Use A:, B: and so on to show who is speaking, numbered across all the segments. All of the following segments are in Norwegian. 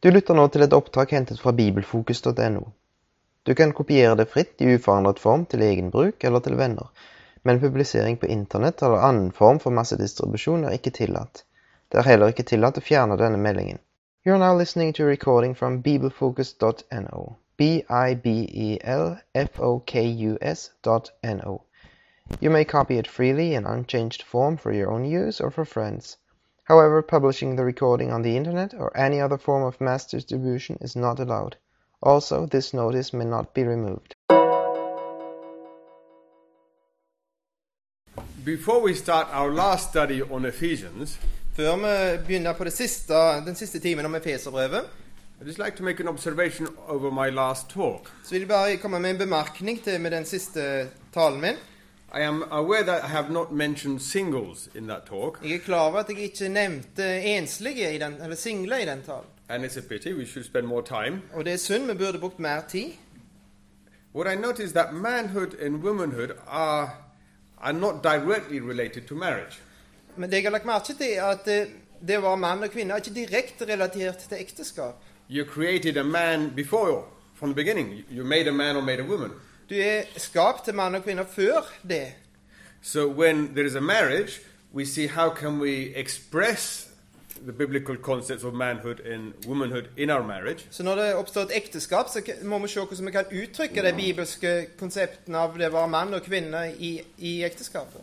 A: Du lytter nå til et opptak hentet fra bibelfokus.no. Du kan kopiere det fritt i uforandret form til egen bruk eller til venner, men publisering på internett eller annen form for massedistribusjon er ikke tillatt. Det er heller ikke tillatt å fjerne denne meldingen. You are now listening to a recording from bibelfocus.no. E B-I-B-E-L-F-O-K-U-S dot N-O. You may copy it freely in unchanged form for your own use or for friends. However, publishing the recording on the internet or any other form of mass distribution is not allowed. Also, this notice may not be removed.
B: Before we start our last study on Ephesians,
C: Før vi begynner på det siste, den siste timen om Efeserbrevet,
B: I'd just like to make an observation over my last talk.
C: så vil jeg bare komme med en bemerkning til med den siste talen min.
B: I am aware that I have not mentioned singles in that talk,
C: Jeg er klar over at jeg ikke nevnte enslige i den, eller single i den talen.
B: and it's a pity, we should spend more time.
C: Og det er synd, vi burde brukt mer tid.
B: What I notice is that manhood and womanhood are, are not directly related to marriage.
C: Men det jeg har lagt merke til, er at eh, det var mann og kvinne er ikke direkte relatert til ekteskap.
B: You created a man before, you- from the beginning. You made a man or made a woman.
C: Du er skapt til mann og kvinne før det.
B: So when there is a marriage, we see how can we express the biblical concepts of manhood and womanhood in our marriage.
C: Så når det oppstår et ekteskap, så k- må vi se hvordan vi kan uttrykke de bibelske konseptene av det var mann og kvinne i, i ekteskapet.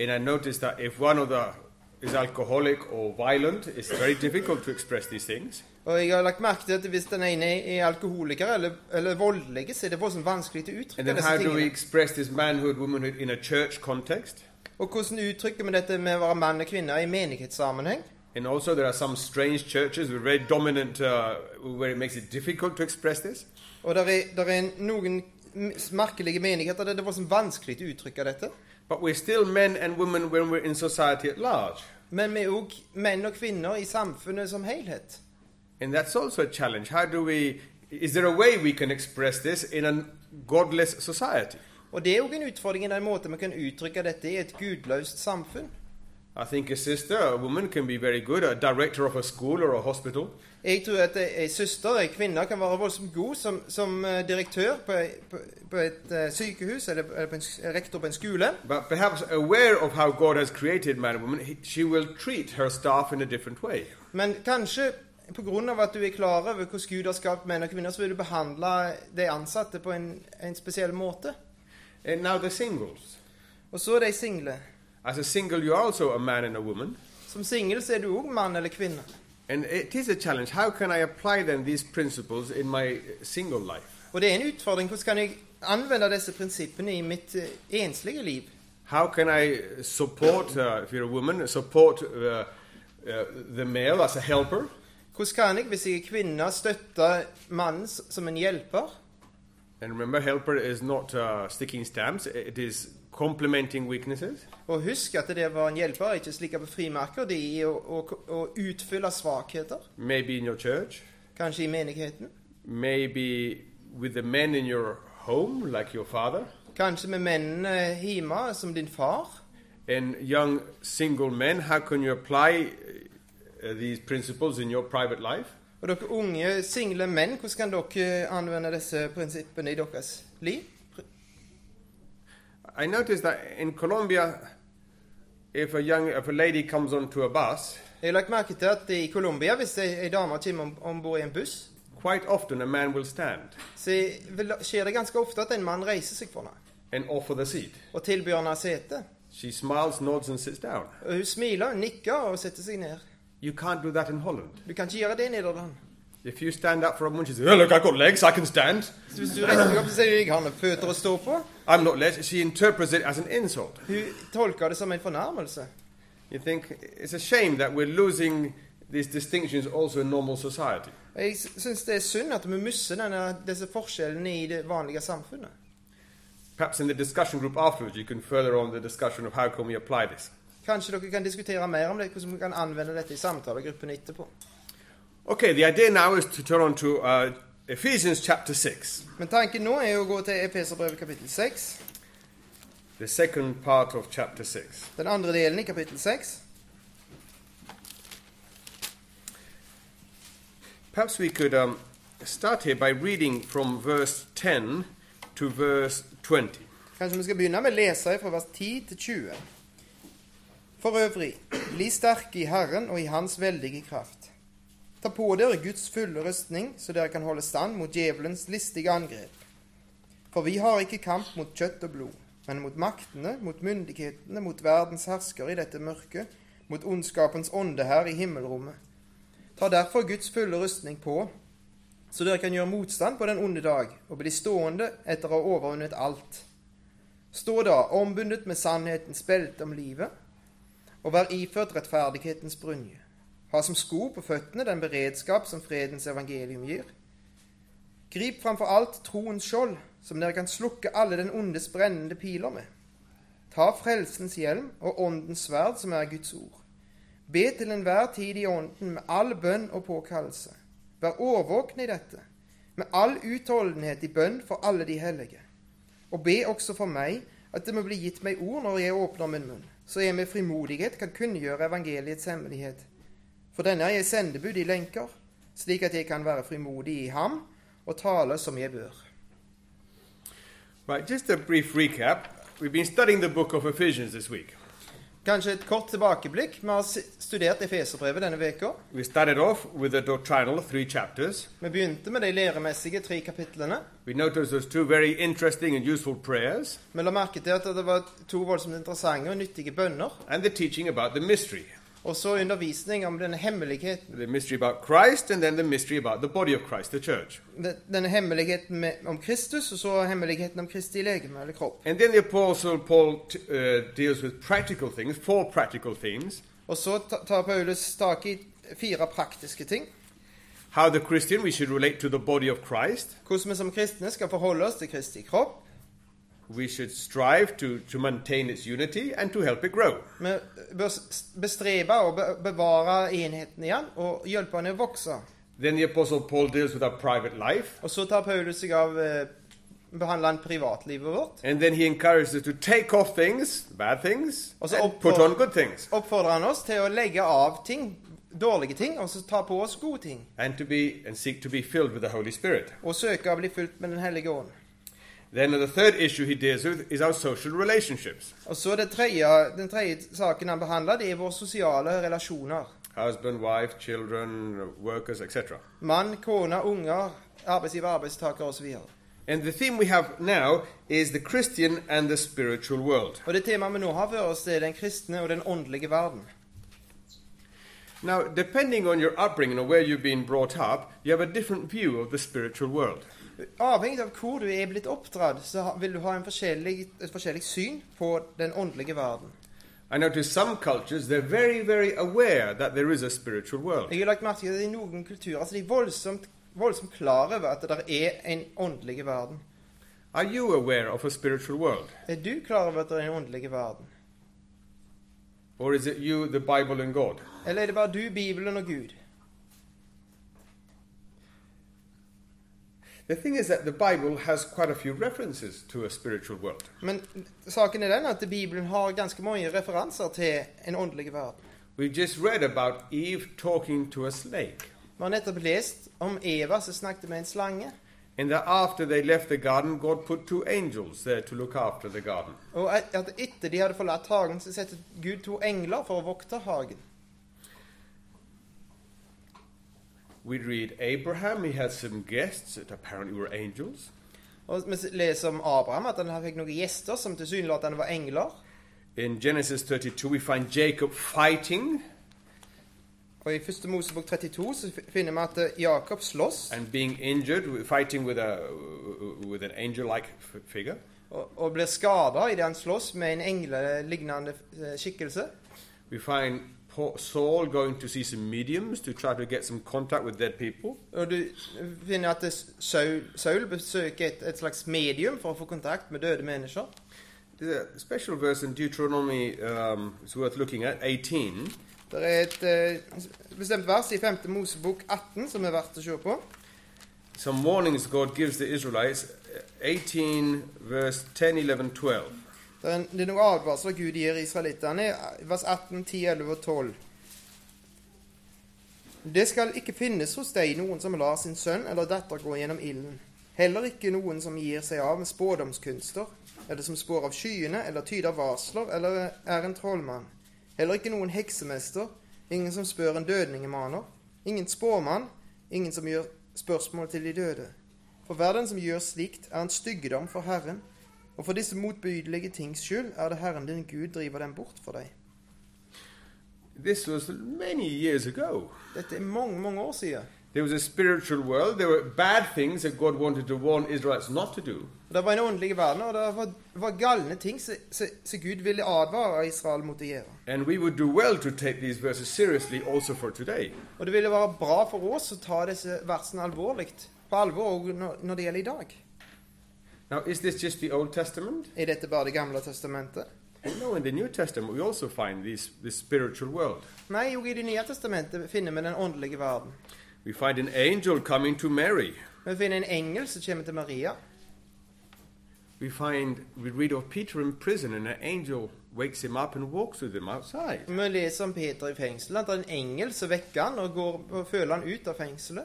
B: And I noticed that if one of the is alcoholic or violent, it's very difficult to express these things.
C: Og jeg har lagt merke til at hvis den ene er alkoholiker eller, eller voldelig, så er det voldsomt vanskelig til å
B: And
C: uttrykke
B: then
C: disse
B: how do we
C: tingene.
B: express this manhood, womanhood in a church context?
C: Og hvordan uttrykker vi dette med å være mann og kvinne i menighetssammenheng?
B: And also, there are some strange churches with very dominant, uh, where it makes it difficult to express this.
C: Og der er, der er noen m- merkelige menigheter der det er voldsomt vanskelig til å uttrykke dette.
B: But we're still men and women when we're in society at large.
C: Men vi er òg menn og kvinner i samfunnet som helhet.
B: And that's also a challenge. How do we, is there a way we can express this in a godless society?
C: Og det er òg en utfordring i den måten vi kan uttrykke dette i et gudløst samfunn.
B: I think a sister, a woman, can be very good, a director of a school or a hospital.
C: Jeg tror at ei ei søster, ei kvinne, kan være voldsomt god som, som eh, direktør på, ei- på, på et eh, sykehus eller, eller på en, s- rektor på en skole.
B: But perhaps aware of how God has created man and woman, he- she will treat her staff in a different way.
C: Men kanskje pga. at du er klar over hvordan Gud har skapt menn og kvinner, så vil du behandle de ansatte på en, en spesiell måte.
B: And now the singles.
C: Og så de single.
B: As a single, you're also a man and a woman.
C: Som singel så er du òg mann eller kvinne.
B: And it is a challenge. How can I apply then these principles in my uh, single life?
C: Og det er en utfordring. Hvordan kan jeg anvende disse prinsippene i mitt eh, enslige liv?
B: How can I uh, support, uh, if you're a woman, support uh, uh, the male as a helper?
C: Hvordan kan jeg, hvis jeg er kvinne, støtte mannen s- som en hjelper?
B: And remember, helper is not uh, sticking stamps, it is complementing weaknesses.
C: Og husk at det å være en hjelper er ikke slik på frimerker. Det er å, å, å utfylle svakheter.
B: Maybe in your church,
C: Kanskje i menigheten.
B: maybe with the men in your home, like your father.
C: Kanskje med mennene hjemme, som din far.
B: And young single men, how can you apply uh, these principles in your private life?
C: Og dere unge, single menn, hvordan kan dere anvende disse prinsippene i deres liv?
B: I noticed that in Colombia, if a young if a lady comes onto a bus,
C: Jeg har lagt merke til at i Colombia, hvis ei ei dame kommer om bord i en buss,
B: quite often a man will stand
C: så vil, skjer det ganske ofte at en mann reiser seg for henne
B: and offer the seat.
C: og tilbyr henne sete.
B: She smiles, nods, and sits down.
C: Og hun smiler, hun nikker og setter seg ned.
B: You can't do that in Holland.
C: Du kan ikke gjøre det i Nederland.
B: If you stand up for a woman, she says, "Oh look, I've got legs, I can stand."
C: Så hvis du reiser deg opp, så sier du 'jeg har noen føtter å stå på'.
B: I'm not less. She interprets it as an insult.
C: Hun tolker det som en fornærmelse.
B: You think it's a shame that we're losing these distinctions also in normal society.
C: Og Jeg syns det er synd at vi mister denne, disse forskjellene i det vanlige samfunnet.
B: Perhaps in the discussion group afterwards, you can further on the discussion of how can we apply this.
C: Kanskje dere kan diskutere mer om det, hvordan vi kan anvende dette i samtalegruppen etterpå.
B: Okay, the idea now is to turn on to uh, Ephesians chapter six,
C: Men tanken nå er å gå til Efeserbrevet kapittel 6,
B: the second part of chapter six.
C: den andre delen i kapittel 6.
B: Perhaps we could um, start here by reading from verse 10 to verse 20.
C: Kanskje vi skal begynne med å lese fra vers 10 til 20. For øvrig, bli sterke i Herren og i Hans veldige kraft. Ta på dere Guds fulle rustning, så dere kan holde stand mot djevelens listige angrep. For vi har ikke kamp mot kjøtt og blod, men mot maktene, mot myndighetene, mot verdens herskere i dette mørket, mot ondskapens ånde her i himmelrommet. Ta derfor Guds fulle rustning på, så dere kan gjøre motstand på den onde dag, og bli stående etter å ha overvunnet alt. Stå da ombundet med sannhetens belte om livet, og vær iført rettferdighetens brynje. Ha som sko på føttene den beredskap som fredens evangelium gir. Grip framfor alt troens skjold, som dere kan slukke alle den ondes brennende piler med. Ta frelsens hjelm og åndens sverd, som er Guds ord. Be til enhver tid i ånden med all bønn og påkallelse. Vær årvåkne i dette, med all utholdenhet i bønn for alle de hellige. Og be også for meg at det må bli gitt meg ord når jeg åpner min munn, så jeg med frimodighet kan kunngjøre evangeliets hemmelighet. For denne er jeg sendebud i lenker, slik at jeg kan være frimodig i ham og tale som jeg bør.
B: Right, just a brief recap. We've been studying the book of Ephesians this week.
C: Kanskje et kort tilbakeblikk. Vi har s- studert Efeserbrevet denne veka.
B: We started off with the doctrinal three chapters.
C: Vi begynte med de læremessige tre kapitlene.
B: We noticed those two very interesting and useful prayers
C: Vi la merke til at det var to voldsomt interessante og nyttige bønner.
B: and the teaching about the mystery.
C: Og så undervisning om denne hemmeligheten,
B: The mystery about Christ and then the mystery about the body of Christ, the church.
C: denne hemmeligheten med, om Kristus, og så hemmeligheten om Kristi legeme eller kropp.
B: And then the Apostle Paul t- uh, deals with practical things, four practical themes
C: Og så ta- tar Paulus tak i fire praktiske ting.
B: how the Christian we should relate to the body of Christ,
C: Hvordan vi som kristne skal forholde oss til Kristi kropp.
B: we should strive to, to maintain its unity and to help it grow.
C: Vi bør s- bestrebe og be- bevare enheten i han, og hjelpe han å vokse.
B: Then the Apostle Paul deals with our private life,
C: Og så tar Paulus seg av eh, behandler han privatlivet vårt.
B: and then he encourages us to take off things, bad things,
C: Also,
B: and
C: of
B: put
C: course-
B: on good things,
C: Oppfordrer han oss til å legge av ting, dårlige ting, og så ta på oss gode ting.
B: and to be and seek to be filled with the Holy Spirit.
C: Og søke å bli fulgt med Den hellige ånd.
B: Then the third issue he deals with is our social relationships.
C: Og så det tredje, Den tredje saken han behandler, det er våre sosiale relasjoner.
B: Husband, wife, children, workers, etc.
C: Mann, kone, unger, arbeidsgiver, arbeidstaker osv. Og
B: And the theme we have now is the Christian and the spiritual world.
C: det temaet vi nå har for oss, det er den kristne og den åndelige verden.
B: Now, depending on your upbringing or where you've been brought up, you have a different view of the spiritual world.
C: Avhengig av hvor du er blitt oppdratt, så ha- vil du ha en forskjellig, et forskjellig syn på den åndelige verden.
B: I notice some cultures, they're very, very aware that there is a spiritual world.
C: Jeg har lagt merke til at i noen kulturer så er de voldsomt, voldsomt klar over at det er en åndelig verden.
B: Are you aware of a spiritual world?
C: Er du klar over at det er en åndelig verden?
B: Or is it you, the Bible, and God?
C: Eller er det bare du, Bibelen og Gud?
B: The thing is that the Bible has quite a few references to a spiritual world.
C: Men saken er den at Bibelen har ganske mange referanser til en åndelig verden.
B: We just read about Eve talking to a snake.
C: Vi har nettopp lest om Eva som snakket med en slange.
B: And that after they left the garden, God put two angels there to look after the garden.
C: Og at at etter de hadde forlatt hagen, så satte Gud to engler for å vokte hagen.
B: We read Abraham, he had some guests that apparently were angels.
C: Og vi leser om Abraham, at han fikk noen gjester som tilsynelatende var engler.
B: In Genesis 32, we find Jacob fighting
C: Og i første Mosebok 32 så fi- finner vi at eh, Jakob slåss,
B: and being injured, fighting with, a, with an angel like f- figure.
C: og, og blir skada idet han slåss med en englelignende eh, skikkelse.
B: We find Paul, Saul going to see some mediums to try to get some contact with dead people.
C: Og du finner at eh, Saul, Saul besøker et, et slags medium for å få kontakt med døde mennesker.
B: There's a special verse in Deuteronomy, um, it's worth looking at, 18.
C: Det er et eh, bestemt vers i 5. Mosebok 18 som er verdt å se på.
B: Some warnings God gives the Israelites, 18, verse 10, 11, 12.
C: Det er, en, det er noen advarsler Gud gir israelittene i vers 18, 10, 11 og 12. Det skal ikke finnes hos deg noen som lar sin sønn eller datter gå gjennom ilden. Heller ikke noen som gir seg av med spådomskunster, eller som spår av skyene, eller tyder varsler, eller er en trollmann. Heller ikke noen heksemester, ingen som spør en dødningemaner, ingen spåmann, ingen som gjør spørsmål til de døde. For hver den som gjør slikt, er en styggedom for Herren, og for disse motbydelige tings skyld er det Herren din Gud driver dem bort for deg.
B: This was many years ago.
C: Dette er mange, mange år siden.
B: There was a spiritual world. There were bad things that God wanted to warn Israelites not to do.
C: Og Det var en åndelig verden, og det var, var galne ting som som- som Gud ville advare Israel mot å gjøre.
B: And we would do well to take these verses seriously also for today.
C: Og det ville være bra for oss å ta disse versene alvorlig, på alvor også når, når det gjelder i dag.
B: Now, is this just the Old Testament?
C: Er dette bare Det gamle testamentet?
B: Well, no, in the New Testament we also find these, this spiritual world.
C: Nei, også i Det nye testamentet finner vi den åndelige verden.
B: We find an angel coming to Mary.
C: Vi finner en engel som kommer til Maria.
B: We find, we read of Peter in prison and an angel wakes him up and walks with him outside.
C: Vi leser om Peter i fengsel. At det er en engel som vekker han og går og føler han ut av fengselet.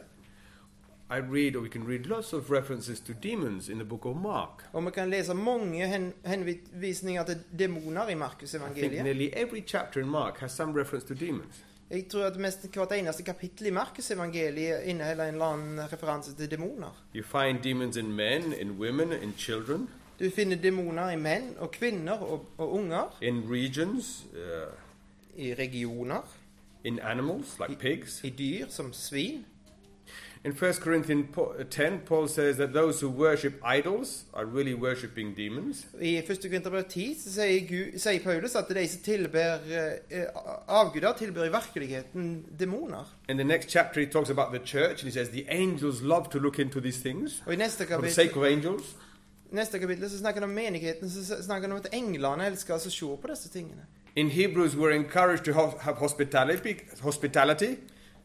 B: I read, or we can read lots of references to demons in the book of Mark.
C: Og vi kan lese mange hen, henvisninger til demoner i
B: I think
C: Markusevangeliet.
B: nearly every chapter in Mark has some reference to demons.
C: Jeg tror at mest hvert eneste kapittel i Markusevangeliet inneholder en eller annen referanse til demoner.
B: You find demons in men, in women, in children,
C: Du finner demoner i menn og kvinner og, og unger,
B: in regions, uh,
C: i regioner,
B: in animals like pigs.
C: i dyr som svin.
B: In 1 Corinthians po- uh, 10, Paul says that those who worship idols are really worshipping demons.
C: I 1. Korinterbrev 10 så sier, Gud, sier Paulus at de som tilber eh, avguder, tilber i virkeligheten demoner.
B: In the next chapter, he talks about the church and he says the angels love to look into these things
C: Og i neste
B: for the
C: kapittel,
B: sake of angels.
C: neste kapittel så snakker han om menigheten, så snakker han om at englene elsker oss å se på disse tingene.
B: In Hebrews, we're encouraged to ho- have hospitality, hospitality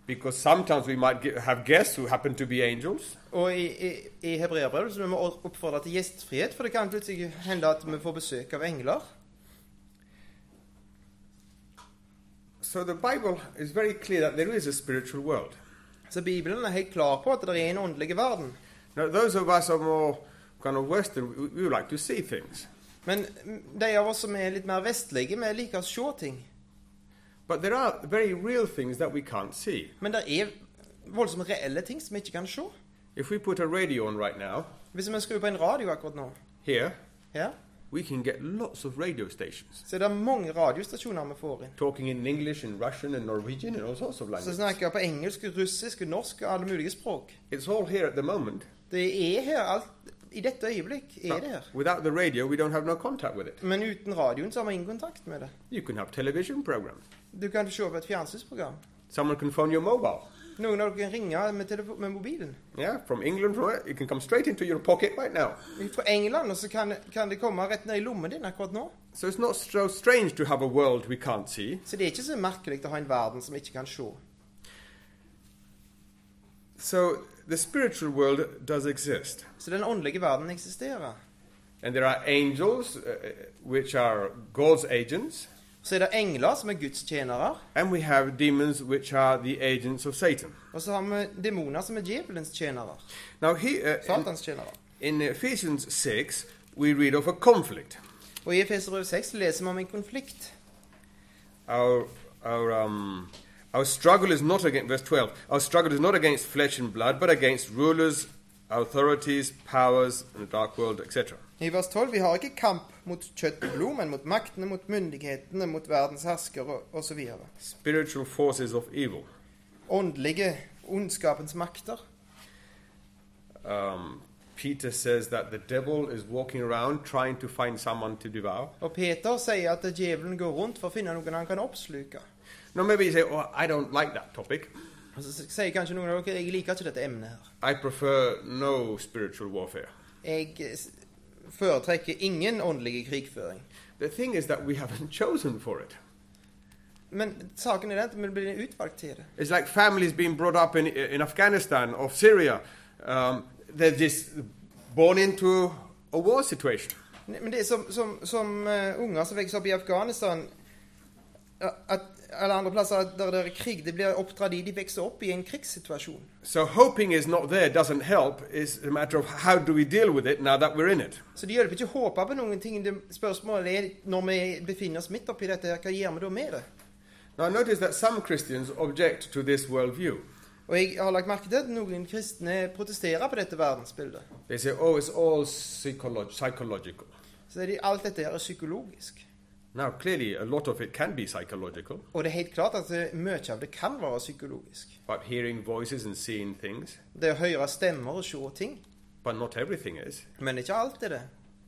B: because sometimes we might ge- have guests who happen to be angels.
C: Og i, i, i hebreerbrevet så må vi oppfordre til gjestfrihet, for det kan plutselig hende at vi får besøk av engler.
B: So the Bible is very clear that there is a spiritual world.
C: Så Bibelen er helt klar på at det er en åndelig verden.
B: Now, those of us who are more kind of Western, we, we would like to see things.
C: Men de av oss som er litt mer vestlige, vi liker å se ting.
B: But there are very real things that we can't see.
C: Men det er voldsomt reelle ting som vi ikke kan se.
B: If we put a radio on right now,
C: Hvis vi skrur på en radio akkurat nå,
B: here,
C: her,
B: we can get lots of radio stations
C: så er det mange radiostasjoner vi får inn.
B: talking in English and Russian and Norwegian and all sorts of
C: Så
B: languages.
C: snakker jeg på engelsk, russisk, norsk og alle mulige språk.
B: It's all here at the moment.
C: Det er her alt I dette øyeblikk er det her.
B: Without the radio, we don't have no contact with it.
C: Men uten radioen så har vi ingen kontakt med det.
B: You can have television programs.
C: Du kan se på et fjernsynsprogram.
B: Someone can phone your mobile.
C: Noen av dere kan ringe med, telefo- med mobilen.
B: Yeah, from England, from it, it can come straight into your pocket right now.
C: Fra England, og så kan, kan det komme rett ned i lommen din akkurat nå.
B: So it's not so strange to have a world we can't see.
C: Så det er ikke så merkelig å ha en verden som vi ikke kan se.
B: So the spiritual world does exist.
C: Så den åndelige verden eksisterer.
B: And there are angels, uh, which are God's agents,
C: Så er det engler som er Guds tjenere,
B: and we have demons, which are the agents of Satan.
C: og så har vi demoner som er djevelens tjenere.
B: Now, he, uh,
C: Satans tjenere.
B: in, in Ephesians 6, we read of a conflict.
C: Og i Efeserød 6 leser vi om en konflikt.
B: Our, our, um, our struggle is not against, verse 12, our struggle is not against flesh and blood, but against rulers, authorities, powers in the dark world, etc.
C: I vers 12 vi har ikke kamp mot kjøtt og blod, men mot maktene, mot myndighetene, mot verdens herskere osv.
B: Spiritual forces of evil.
C: Åndelige ondskapens makter.
B: Um, Peter says that the devil is walking around trying to find someone to devour.
C: Og Peter sier at djevelen går rundt for å finne noen han kan oppsluke.
B: Now, maybe you say, oh, I don't like that topic.
C: Og så sier kanskje noen av dere jeg liker ikke dette emnet her.
B: I prefer no spiritual warfare.
C: Jeg s- foretrekker ingen åndelig krigføring.
B: The thing is that we haven't chosen for it.
C: Men saken er den at vi blir utvalgt til det.
B: It's like families being brought up in, in Afghanistan or Syria. Um, they're just born into a war situation.
C: Men det er som, som, som eh, unger som vokser opp i Afghanistan ja, At eller andre plasser der det er krig. Det blir oppdratt i. De vokser opp i en krigssituasjon.
B: So hoping is not there doesn't help. It's a matter of how do we deal with it now that we're in it.
C: Så det hjelper ikke å håpe på noen ting. Det spørsmålet er når vi befinner oss midt oppi dette, her, hva gjør vi da med det?
B: Now notice that some Christians object to this worldview.
C: Og jeg har lagt merke til at noen kristne protesterer på dette verdensbildet.
B: They say, oh, it's all psycholog- psychological.
C: Så er det, alt dette her er psykologisk.
B: Now, clearly, a lot of it can be psychological,
C: Og det er helt klart at eh, mye av det kan være psykologisk.
B: about hearing voices and seeing things,
C: Det å høre stemmer og se ting.
B: but not everything is.
C: Men ikke alt er det.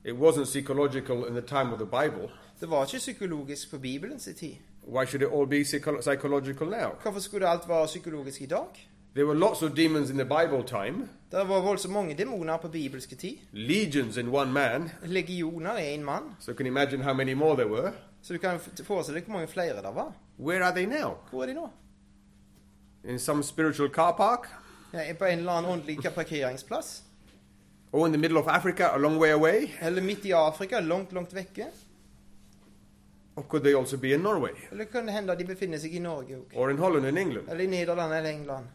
B: It wasn't psychological in the time of the Bible.
C: Det var ikke psykologisk på Bibelens tid.
B: Why should it all be psycho- psychological now?
C: Hvorfor skulle alt være psykologisk i dag?
B: There were lots of demons in the Bible time,
C: Det var voldsomt mange demoner på bibelske tid.
B: legions in one man,
C: Legioner er en mann,
B: so you can imagine how many more there were.
C: så du kan f- forestille deg hvor mange flere det var.
B: Where are they now?
C: Hvor er de nå?
B: In some spiritual car park?
C: Ja, på en eller annen åndelig parkeringsplass?
B: Or in the middle of Africa, a long way away?
C: Eller midt i Afrika, langt, langt vekke?
B: Or could they also be in Norway?
C: Eller kan det hende de befinner seg i Norge òg?
B: Or in Holland and England?
C: Eller i Nederland eller England?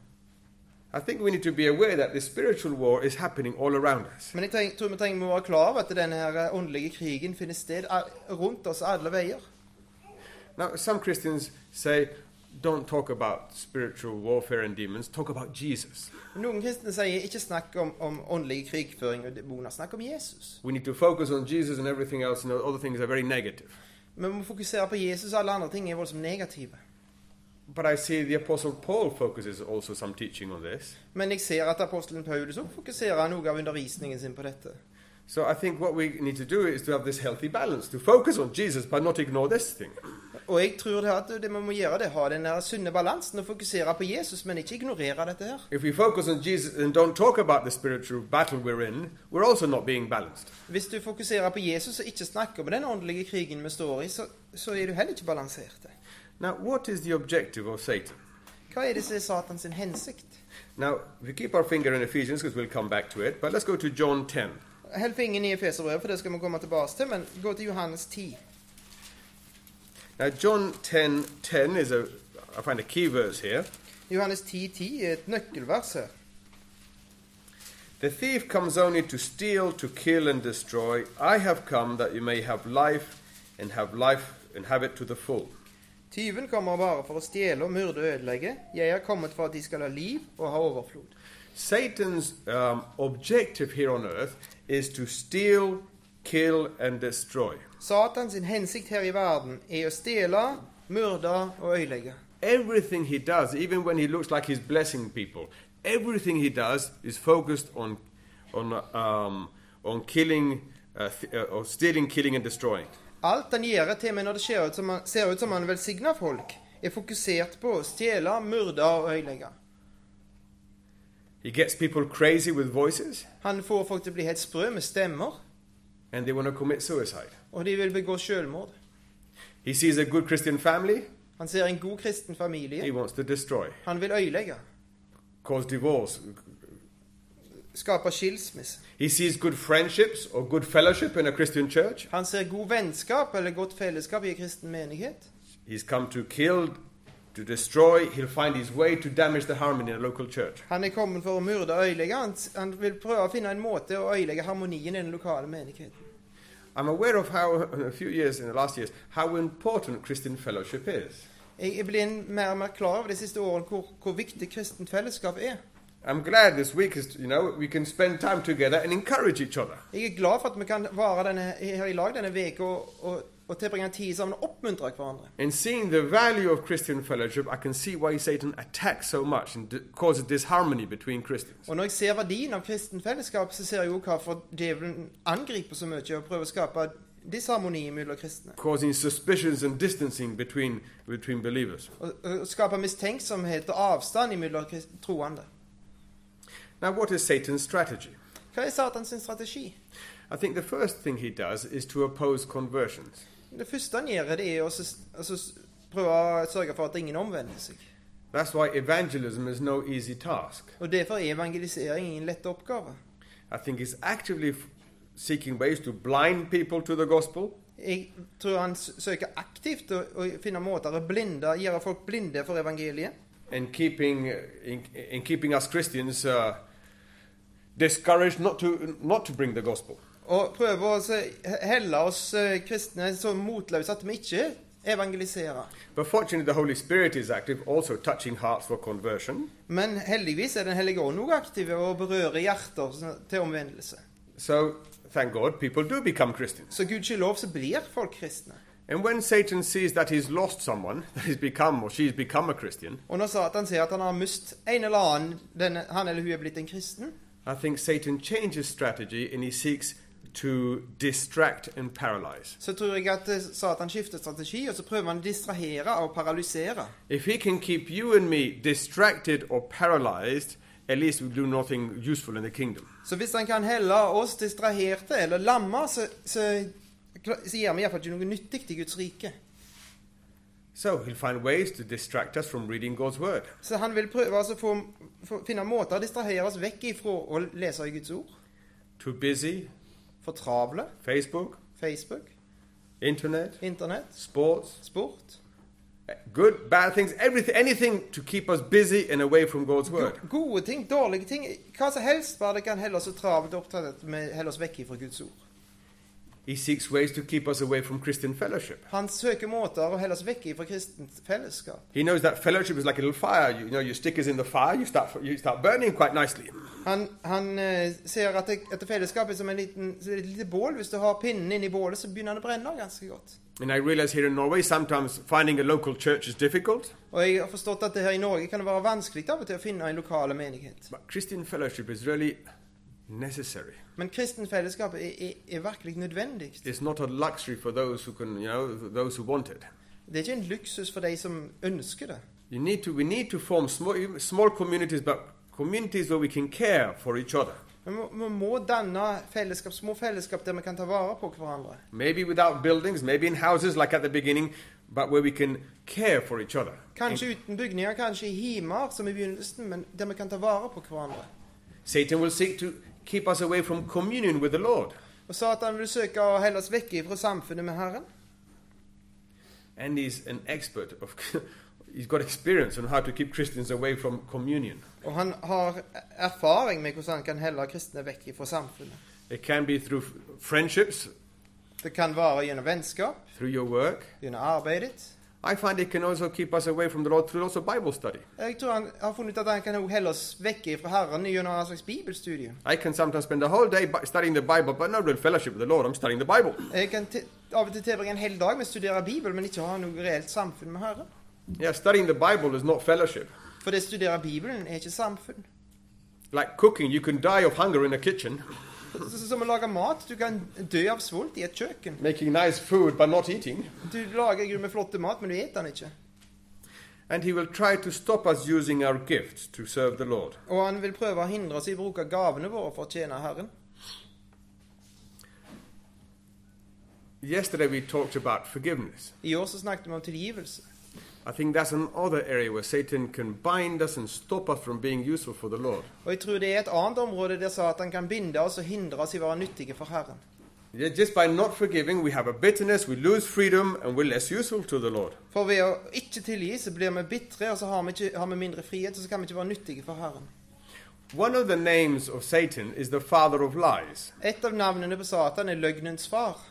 B: I think we need to be aware that this spiritual war is happening all around us.
C: Men jeg treng, tror vi trenger å være klar over at denne her eh, åndelige krigen finner sted a- rundt oss alle veier.
B: Now, some Christians say, don't talk about spiritual warfare and demons, talk about Jesus.
C: Noen kristne sier ikke snakk om, om åndelig krigføring og demoner, snakk om Jesus.
B: We need to focus on Jesus and everything else, and other things are very negative.
C: Vi må fokusere på Jesus, alle andre ting er voldsomt negative.
B: But I see the Apostle Paul focuses also some teaching on this.
C: Men jeg ser at apostelen Paulus også fokuserer noe av undervisningen sin på dette.
B: So I think what we need to do is to have this healthy balance, to focus on Jesus but not ignore this thing.
C: Og jeg tror det at det vi må gjøre, det er å ha den der sunne balansen og fokusere på Jesus, men ikke ignorere dette her.
B: If we focus on Jesus and don't talk about the spiritual battle we're in, we're also not being balanced.
C: Hvis du fokuserer på Jesus og ikke snakker om den åndelige krigen vi står i, så, så er du heller ikke balansert.
B: Now, what is the objective of Satan?
C: Hva er det som er Satans sin hensikt?
B: Now, we keep our finger in Ephesians because we'll come back to it, but let's go to John 10.
C: Hell fingeren i Efeserbrevet, for det skal vi komme tilbake til, men gå til Johannes 10.
B: Now, John 10 10 is a, I find a key verse here.
C: Johannes 10, 10 er et nøkkelvers her.
B: The thief comes only to steal, to kill, and destroy. I have come that you may have life and have life and have it to the full.
C: Tyven kommer bare for å stjele og myrde og ødelegge. Jeg er kommet for at de skal ha liv og ha overflod.
B: Satan's um, objective here on earth is to steal, kill, and destroy.
C: Satans sin hensikt her i verden er å stjele, myrde og ødelegge.
B: Everything he does, even when he looks like he's blessing people, everything he does is focused on, on, um, on killing, uh, th- uh, or stealing, killing, and destroying.
C: Alt han gjør til og med når det ser ut som han, ser ut som han velsigner folk, er fokusert på å stjele, myrde og ødelegge.
B: He gets people crazy with voices,
C: Han får folk til å bli helt sprø med stemmer,
B: and they want to commit suicide.
C: og de vil begå selvmord.
B: He sees a good Christian family,
C: Han ser en god kristen familie.
B: he wants to destroy,
C: Han vil ødelegge.
B: cause divorce.
C: Skape skilsmisse.
B: He sees good friendships or good fellowship in a Christian church.
C: Han ser god vennskap eller godt fellesskap i en kristen menighet.
B: He's come to kill, to destroy. He'll find his way to damage the harmony in a local church.
C: Han er kommet for å myrde og ødelegge. Han, han vil prøve å finne en måte å ødelegge harmonien i den lokale menigheten.
B: I'm aware of how, in a few years, in the last years, how important Christian fellowship is.
C: Jeg er blitt mer og mer klar over de siste årene hvor, hvor viktig kristent fellesskap er.
B: I'm glad this week is, you know, we can spend time together and encourage each other.
C: Jeg er glad for at vi kan være denne, her i lag denne uka og, og, og tilbringe tid sammen og oppmuntre hverandre.
B: In seeing the value of Christian fellowship, I can see why Satan attacks so much and d- causes disharmony between Christians.
C: Og når jeg ser verdien av kristent fellesskap, så ser jeg jo hvorfor djevelen angriper så mye og prøver å skape disharmoni mellom kristne.
B: Causing suspicions and distancing between, between believers.
C: Og, og skape mistenksomhet og avstand mellom krist- troende.
B: Now, what is Satan's strategy?
C: Hva er Satans strategi?
B: I think the first thing he does is to oppose conversions.
C: Det første han gjør, det er å s- altså s- prøve å sørge for at ingen omvender seg.
B: That's why evangelism is no easy task.
C: Og Derfor er evangelisering ingen lett oppgave.
B: I think he's actively f- seeking ways to blind people to the gospel,
C: Jeg tror han s- søker aktivt å, å finne måter å blinde, gjøre folk blinde for evangeliet.
B: and keeping uh, in, in keeping us Christians uh, discouraged not to not to bring the gospel.
C: Og prøver å se- helle oss eh, kristne så motløse at vi ikke evangeliserer.
B: But fortunately, the Holy Spirit is active, also touching hearts for conversion.
C: Men heldigvis er Den hellige ånd også aktiv og berører hjerter sånn- til omvendelse.
B: So thank God, people do become Christians.
C: Så gudskjelov så blir folk kristne.
B: And when Satan sees that he's lost someone, that he's become or she's become a Christian,
C: Og når Satan ser at han har mist en eller annen, denne, han eller hun er blitt en kristen,
B: I think Satan changes strategy and he seeks to distract and paralyze.
C: så tror jeg at eh, Satan skifter strategi, og så prøver han å distrahere og paralysere.
B: If he can keep you and me distracted or paralyzed, at least we do nothing useful in the kingdom.
C: Så hvis han kan helle oss distraherte eller lamme, så, så, så gjør vi iallfall ikke noe nyttig i Guds rike.
B: So he'll find ways to distract us from reading God's word.
C: Så han vil prøve altså å få, få, finne måter å distrahere oss vekk ifra å lese i Guds ord.
B: Too busy,
C: For travle,
B: Facebook,
C: Facebook,
B: internet,
C: Internett,
B: sports,
C: sport.
B: good, bad things, everything, anything to keep us busy and away from God's word.
C: Gode ting, dårlige ting, hva som helst bare det kan helle oss så travelt opptatt at vi heller oss vekk ifra Guds ord.
B: He seeks ways to keep us away from Christian fellowship.
C: Han søker måter å helle oss vekk ifra kristent fellesskap.
B: He knows that fellowship is like a little fire. You, know, your stick is in the fire, you start, you start burning quite nicely.
C: Han, han eh, ser at, det, at det fellesskapet er som en liten, som et lite bål. Hvis du har pinnen inni bålet, så begynner han å brenne ganske godt.
B: And I realize here in Norway, sometimes finding a local church is difficult,
C: Og jeg har forstått at det her i Norge kan det være vanskelig av og til å finne en lokal menighet.
B: but Christian fellowship is really necessary.
C: Men kristent fellesskap er, er, er virkelig nødvendig.
B: It's not a luxury for those who can, you know, those who want it.
C: Det er ikke en luksus for de som ønsker det.
B: You need to, we need to form small, small communities, but communities where we can care for each other.
C: Vi må, vi må danne fellesskap, små fellesskap der vi kan ta vare på hverandre.
B: Maybe without buildings, maybe in houses like at the beginning, but where we can care for each other.
C: Kanskje uten bygninger, kanskje i himer, som i begynnelsen, men der vi kan ta vare på hverandre.
B: Satan will seek to keep us away from communion with the Lord.
C: Og Satan vil søke å helle oss vekk fra samfunnet med Herren.
B: And he's an expert of, he's got experience on how to keep Christians away from communion.
C: Og han har erfaring med hvordan han kan helle kristne vekk fra samfunnet.
B: It can be through friendships,
C: Det kan være gjennom vennskap,
B: through your work.
C: gjennom arbeidet.
B: I find it can also keep us away from the Lord through also Bible study.
C: Jeg tror han har funnet ut at han kan også helle oss vekk fra Herren gjennom en slags bibelstudie.
B: I can sometimes spend a whole day bu- studying the Bible, but no real fellowship with the Lord. I'm studying the Bible.
C: Jeg kan til- av og til tilbringe en hel dag med å studere Bibelen, men ikke ha noe reelt samfunn med Herren.
B: Yeah, studying the Bible is not fellowship.
C: For det å studere Bibelen er ikke samfunn.
B: Like cooking, you can die of hunger in a kitchen,
C: Så- så- Som å lage mat. Du kan dø av svolt i et kjøkken.
B: making nice food but not eating.
C: Du lager i grunnen flotte mat, men du spiser den ikke.
B: And he will try to stop us using our gifts to serve the Lord.
C: Og han vil prøve å hindre oss i å bruke gavene våre for å tjene Herren.
B: Yesterday we talked about forgiveness.
C: I år så snakket vi om tilgivelse.
B: I think that's another area where Satan can bind us and stop us from being useful for the Lord.
C: Og jeg tror det er et annet område der Satan kan binde oss og hindre oss i å være nyttige for Herren.
B: Yeah, just by not forgiving, we have a bitterness, we lose freedom, and we're less useful to the Lord.
C: For ved å ikke tilgi, så blir vi bitre, og så har vi, ikke, har vi mindre frihet, og så kan vi ikke være nyttige for Herren.
B: One of the names of Satan is the father of lies.
C: Et av navnene på Satan er løgnens far.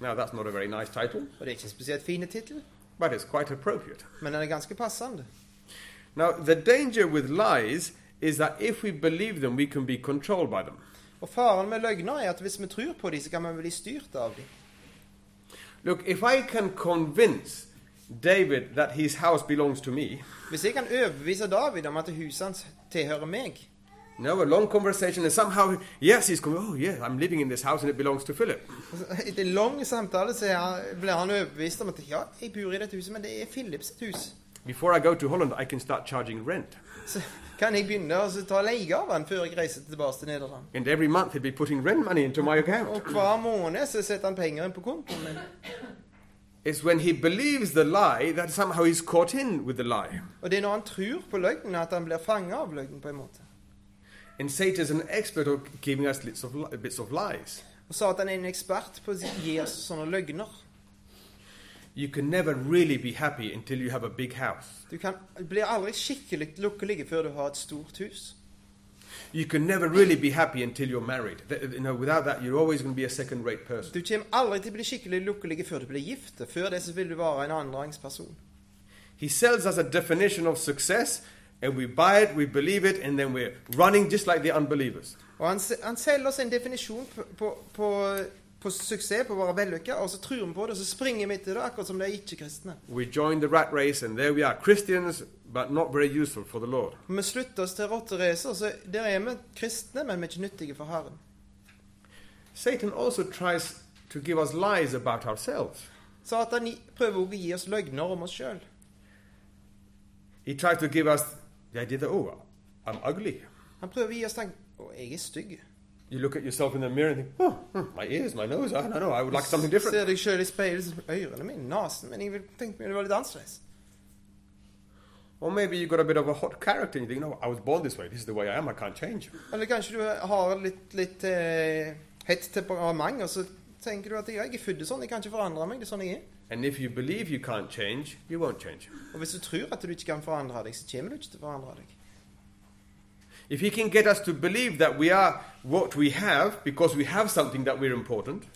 B: Now, that's not a very nice title,
C: Og det er ikke en spesielt fin tittel,
B: but it's quite appropriate.
C: men den er ganske passende.
B: Now, the danger with lies is that if we believe them, we can be controlled by them.
C: Og faren med løgner er at hvis vi tror på dem, så kan vi bli styrt av dem.
B: Look, if I can convince David that his house belongs to me,
C: Hvis jeg kan overbevise David om at huset hans tilhører meg,
B: you know, a long conversation, and somehow, yes, he's going, oh, yeah, I'm living in this house and it belongs to Philip.
C: Altså, Etter en lang samtale så er han- blir han overbevist om at ja, jeg bor i dette huset, men det er Philips sitt hus.
B: Before I go to Holland, I can start charging rent.
C: Så kan jeg begynne å så ta leie av han før jeg reiser tilbake til Nederland.
B: And every month he'd be putting rent money into my account.
C: Og hver måned så setter han penger inn på kontoen min.
B: It's when he believes the lie that somehow he's caught in with the lie.
C: Og det er når han tror på løgnen, at han blir fanga av løgnen, på en måte.
B: And Satan's an expert of giving us bits of, li- bits of lies.
C: Og Satan er en ekspert på å gi oss sånne løgner.
B: You can never really be happy until you have a big house.
C: Du kan, blir aldri skikkelig lykkelig før du har et stort hus.
B: You can never really be happy until you're married. Th- You know, without that, you're always going to be a second-rate person.
C: Du kommer aldri til å bli skikkelig lykkelig før du blir gift. Før det så vil du være en annenrangsperson.
B: He sells us a definition of success, and we buy it, we believe it, and then we're running just like the unbelievers.
C: Og han, se- han selger oss en definisjon på, på, på, på suksess, på å være vellykka, og så tror vi på det, og så springer vi etter det, akkurat som de ikke-kristne.
B: We join the rat race, and there we are, Christians, but not very useful for the Lord.
C: Vi slutter oss til rotteracer, så der er vi kristne, men vi er ikke nyttige for Herren.
B: Satan also tries to give us lies about ourselves.
C: Satan gi- prøver også å gi oss løgner om oss sjøl.
B: He tries to give us the idea that, oh, I'm ugly.
C: Han prøver å gi oss tanken Å, jeg er stygg.
B: You look at yourself in the mirror and think, oh, hmm, my ears, my nose, I don't know, I would like something different.
C: Ser deg sjøl i speilet, så- ørene mine, nesen Men jeg vil tenke meg det var litt annerledes.
B: Or maybe you got a bit of a hot character and you think, no, I was born this way, this is the way I am, I can't change.
C: Eller kanskje du har litt, litt eh, hett temperament, og så tenker du at jeg er født sånn, jeg kan ikke forandre meg, det er sånn jeg er.
B: And if you believe you can't change, you won't change.
C: Og hvis du tror at du ikke kan forandre deg, så kommer du ikke til å forandre deg.
B: If he can get us to believe that we are what we have because we have something that we're important,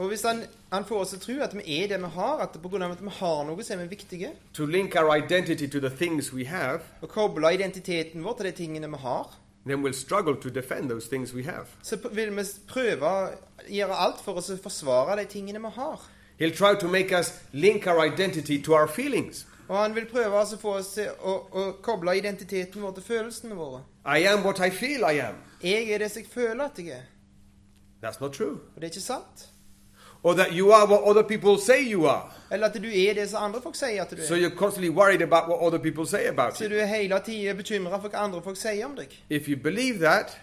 C: Og hvis han, han får oss til å tro at vi er det vi har, at på grunn av at vi har noe, så er vi viktige,
B: to link our identity to the things we have,
C: og kobler identiteten vår til de tingene vi har,
B: then we'll struggle to defend those things we have.
C: så p- vil vi prøve å gjøre alt for oss å forsvare de tingene vi har.
B: He'll try to make us link our identity to our feelings.
C: Og han vil prøve altså å få oss til å, å koble identiteten vår til følelsene våre.
B: I am what I feel I am.
C: Jeg er det som jeg føler at jeg er.
B: That's not true.
C: Og det er ikke sant.
B: Or that you are what other people say you are.
C: Eller at du er det som andre folk sier at du
B: So
C: er.
B: you're constantly worried about what other people say about
C: Så
B: you.
C: du er hele tida bekymra for hva andre folk sier om deg.
B: If you believe that,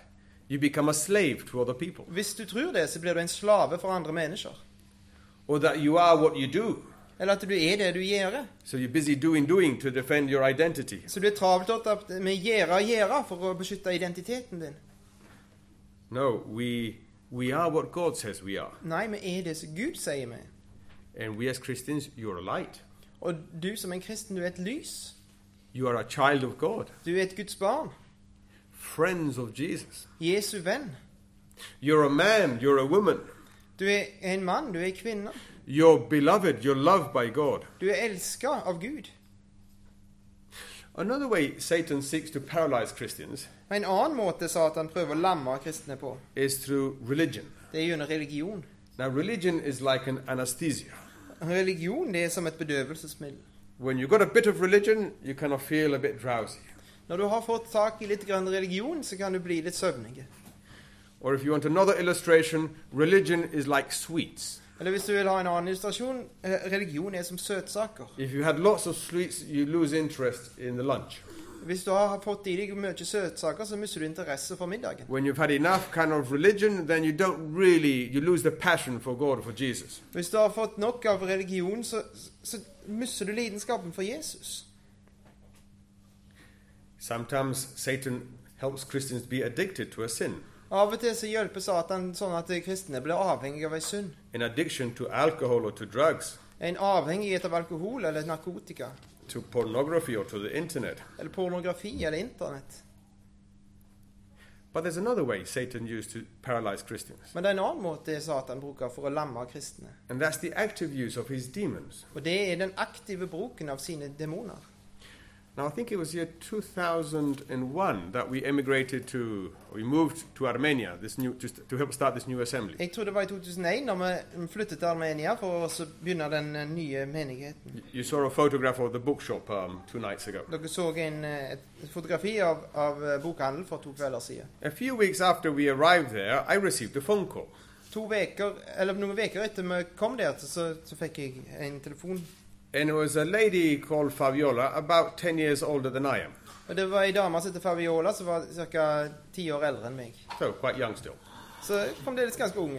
B: you become a slave to other people.
C: Hvis du tror det, så blir du en slave for andre mennesker.
B: Or that you are what you do.
C: Eller at du er det du gjør.
B: So you're busy doing, doing to defend your identity.
C: Så du er travelt opptatt med gjøre og gjøre for å beskytte identiteten din.
B: No, we, we are what God says we are.
C: Nei, vi er det som Gud sier vi. er.
B: And we as Christians, you're a light.
C: Og du som en kristen, du er et lys.
B: You are a child of God,
C: Du er et Guds barn.
B: friends of Jesus.
C: Jesu venn.
B: You're a man, you're a woman.
C: Du er en mann, du er en kvinne.
B: You're beloved, you're loved by God.
C: Du er elska av Gud.
B: Another way Satan seeks to paralyze Christians
C: Og En annen måte Satan prøver å lamme kristne på,
B: is through religion.
C: det er gjennom religion.
B: Now, religion is like an anesthesia.
C: Religion det er som et bedøvelsesmiddel.
B: When you've got a bit of religion, you kind of feel a bit drowsy.
C: Når du har fått tak i litt grann religion, så kan du bli litt søvnig.
B: Or if you want another illustration, religion is like sweets.
C: Eller hvis du vil ha en annen illustrasjon eh, religion er som søtsaker.
B: If you had lots of sweets, you lose interest in the lunch.
C: Hvis du har fått i deg mye søtsaker, så mister du interesse for middagen.
B: When you've had enough kind of religion, then you don't really, you lose the passion for God, for Jesus.
C: Hvis du har fått nok av religion, så, så mister du lidenskapen for Jesus.
B: Sometimes Satan helps Christians be addicted to a sin.
C: Av og til så hjelper Satan sånn at kristne blir avhengige av ei synd.
B: An addiction to alcohol or to drugs,
C: En avhengighet av alkohol eller narkotika.
B: to pornography or to the internet.
C: Eller pornografi eller internett.
B: But there's another way Satan used to paralyze Christians,
C: Men det er en annen måte Satan bruker for å lamme kristne.
B: and that's the active use of his demons.
C: Og det er den aktive bruken av sine demoner.
B: Now, I think it was year 2001 that we emigrated to, we moved to Armenia this new, just to help start this new assembly.
C: Jeg tror det var i 2001 da vi flyttet til Armenia for å så begynne den eh, nye menigheten.
B: You- You saw a photograph of the bookshop um, two nights ago.
C: Dere så en, eh, et fotografi av, av eh, bokhandel for to kvelder siden.
B: A few weeks after we arrived there, I received a phone call.
C: To veker, eller Noen uker etter vi kom der, så, så fikk jeg en telefon.
B: And it was a lady called Fabiola, about 10 years older than I am,
C: Og Det var ei dame som heter Fabiola, som var ca. ti år eldre enn meg.
B: so quite young still.
C: Så fremdeles ganske ung.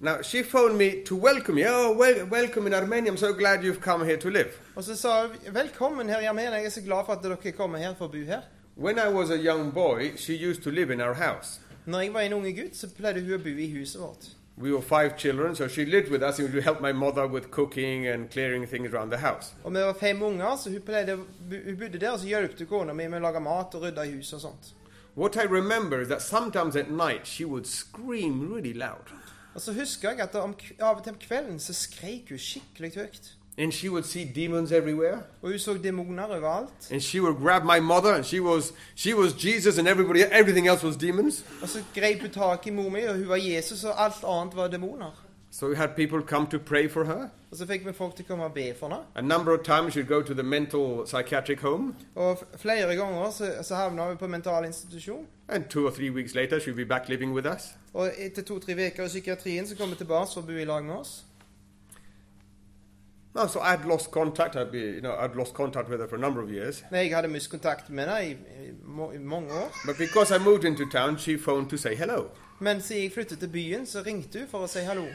B: Now, she phoned me to welcome you. Oh, wel- welcome in Armenia. I'm so glad you've come here to live.
C: Og så sa hun 'Velkommen her i Armenia, jeg er så glad for at dere kommer her for å bo her'.
B: When I was a young boy, she used to live in our house.
C: Når jeg var en unge gutt, så pleide hun å bo i huset vårt.
B: We were five children, so she lived with us and would help my mother with cooking and clearing things around the house.
C: Og vi var fem unger, så hun, pleide, å bo- hun bodde der, og så hjalp hun kona mi med å lage mat og rydde i huset og sånt.
B: What I remember is that sometimes at night she would scream really loud
C: Og så husker jeg at om, k- av og til om kvelden så skreik hun skikkelig høyt.
B: and she would see demons everywhere
C: Og hun så demoner overalt.
B: and she would grab my mother and she was she was Jesus and everybody everything else was demons.
C: Og så greip hun tak i mor mi, og hun var Jesus, og alt annet var demoner.
B: So we had people come to pray for her.
C: Og så fikk vi folk til å komme og be for henne.
B: A number of times she'd go to the mental psychiatric home
C: Og f- flere ganger så, så havna vi på mental institusjon.
B: and two or three weeks later she'd be back living with us.
C: Og etter to-tre uker i psykiatrien så kom hun tilbake for å bo i lag med oss.
B: No, so I'd lost contact. I'd be, you know, I'd lost contact with her for a number of years.
C: Men jeg hadde mye kontakt med henne i, i, må- i mange år.
B: But because I moved into town, she phoned to say hello.
C: Men siden jeg flyttet til byen, så ringte hun for å si hallo.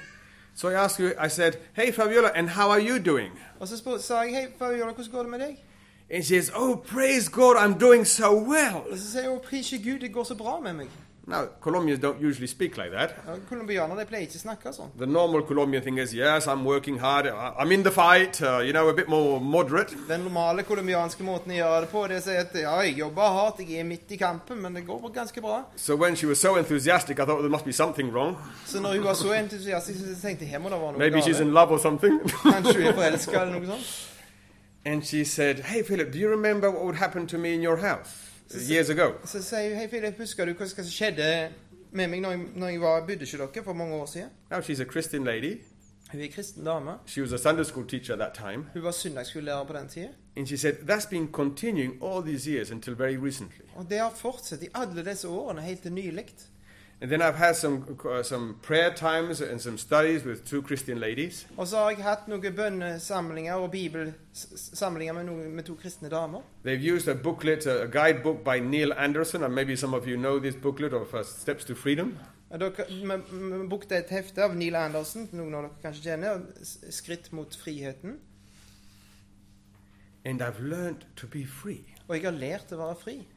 B: So I asked her, I said, Hey Fabiola, and how are you doing?
C: Og så spør, sa jeg 'Hei, Fabiola, hvordan går det med deg?'
B: And she says, Oh, praise God, I'm doing so well.
C: Og så sier hun 'Å, 'Prise Gud, det går så bra med meg'.
B: Now, Colombians don't usually speak like that.
C: Ja, Colombianere de pleier ikke å snakke sånn.
B: The normal Colombian thing is, Yes, I'm working hard, I- I'm in the fight, uh, you know, a bit more moderate.
C: Den normale colombianske måten å gjøre det på, det er å si at 'ja, jeg jobber hardt, jeg er midt i kampen, men det går ganske bra'.
B: So when she was so enthusiastic, I thought there must be something wrong.
C: Så når hun var så entusiastisk, så tenkte jeg 'her må det være noe
B: Maybe she's
C: galt'.
B: in love or something.
C: Kanskje hun er forelska eller noe sånt.
B: and she said, Hey Philip, do you remember what would happen to me in your house uh, years ago?
C: Så sier hun 'hei, Philip, husker du hva som skjedde med meg når jeg, når jeg var, bodde hos dere for mange år siden'?
B: Now she's a Christian lady.
C: Hun er kristen dame.
B: She was a Sunday school teacher at that time.
C: Hun var søndagsskolelærer på den tida.
B: And she said, That's been continuing all these years until very recently.
C: Og det har fortsatt i alle disse årene, helt til nylig.
B: And then I've had some, uh, some prayer times and some studies with two Christian ladies.
C: Og så har jeg hatt noen bønnesamlinger og bibelsamlinger med, noen, med to kristne damer.
B: They've used a booklet, a a guidebook by Neil Anderson, and maybe some of you know this booklet of uh, Steps to Freedom.
C: Og dere, vi, vi brukte et hefte av Neil Andersen, noen av dere kanskje kjenner, s- 'Skritt mot friheten'.
B: And I've learned to be free.
C: Og jeg har lært å være fri.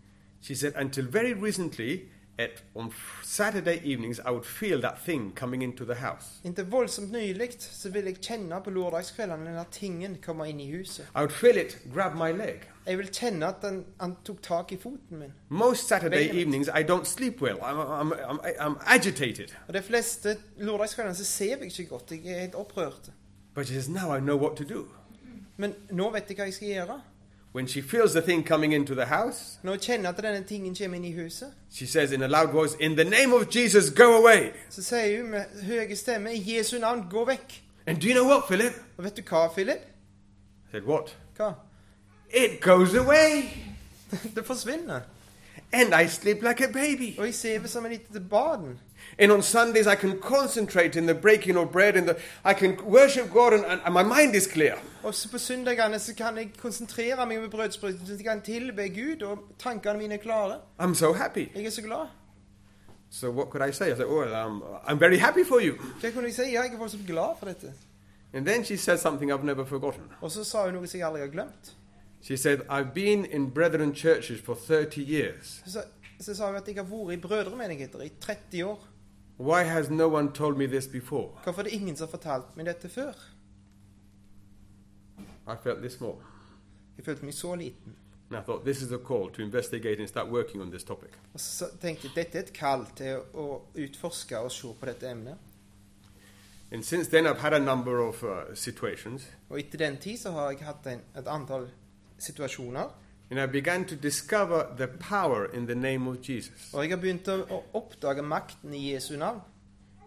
B: She said, Until very recently, at, on f- Saturday evenings, I would feel that thing coming into the house.
C: Inntil voldsomt nylig så vil jeg kjenne på lørdagskveldene denne tingen komme inn i huset.
B: I would feel it grab my leg.
C: Jeg vil kjenne at den, han tok tak i foten min.
B: Most Saturday
C: Vehement.
B: evenings, I don't sleep well. I'm, I'm, I'm, I'm agitated.
C: Og de fleste lørdagskveldene så ser jeg ikke godt. Jeg er helt opprørt.
B: But she says, Now I know what to do.
C: Men nå vet jeg hva jeg skal gjøre.
B: When she feels the thing coming into the house,
C: Når jeg kjenner at denne tingen kommer inn i huset,
B: she says in a loud voice, In the name of Jesus, go away.
C: så sier hun med høye stemme i Jesu navn, gå vekk.
B: And do you know what, Philip?
C: Og vet du hva, Philip?
B: I said, What?
C: Hva?
B: It goes away.
C: Det forsvinner.
B: And I sleep like a baby.
C: Og jeg sover som en liten barn.
B: And on Sundays, I can concentrate in the breaking of bread, and the, I can worship God, and, and my mind is clear.
C: Og så på søndagene så kan jeg konsentrere meg over brødsprøyten, så jeg kan tilbe Gud, og tankene mine er klare.
B: I'm so happy.
C: Jeg er så glad.
B: So, what could I say? I said, Oh, um, I'm very happy for you.
C: Hva kunne jeg si? Ja, jeg er voldsomt glad for dette.
B: And then she said something I've never forgotten.
C: Og så sa hun noe som jeg aldri har glemt.
B: She said, I've been in brethren churches for 30 years.
C: Så, sa- så sa hun at jeg har vært i brødremenigheter i 30 år.
B: Why has no one told me this before?
C: Hvorfor er det ingen som har fortalt meg dette før?
B: I felt this more.
C: Jeg følte meg så liten.
B: And I thought, this is a call to investigate and start working on this topic.
C: Og så tenkte jeg dette er et kall til å utforske og se på dette emnet.
B: And since then, I've had a number of uh, situations,
C: Og etter den tid så har jeg hatt en, et antall situasjoner.
B: and I began to discover the power in the name of Jesus.
C: Og jeg har begynt å, å oppdage makten i Jesu navn.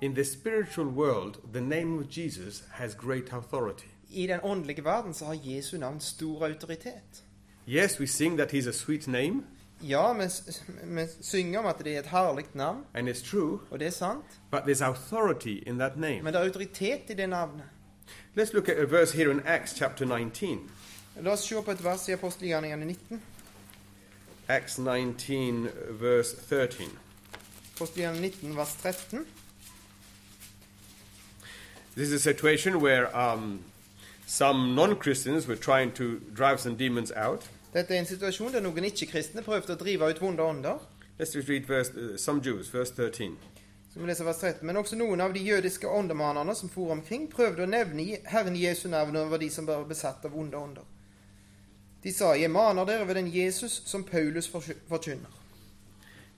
B: In the spiritual world, the name of Jesus has great authority.
C: I den åndelige verden så har Jesu navn stor autoritet.
B: Yes, we sing that he's a sweet name,
C: Ja, vi, s- vi synger om at det er et herlig navn,
B: and it's true,
C: og det er sant.
B: but there's authority in that name.
C: Men det er autoritet i det navnet.
B: Let's look at a verse here in Acts chapter 19.
C: La oss se på et vers i apostelgjerningene 19.
B: Acts 19, verse 13.
C: Apostelgjerningene 19, vers 13.
B: This is a situation where um, some non Christians were trying to drive some demons out,
C: Dette er en situasjon der noen ikke-kristne prøvde å drive ut vonde ånder.
B: Let's just read verse, uh, some Jews, verse 13.
C: Skal vi lese vers 13. Men også noen av de jødiske åndemanerne som for omkring, prøvde å nevne Je- Herren Jesu navn over de som var besatt av onde ånder. De sa, jeg maner dere ved den Jesus som Paulus forsky- forkynner.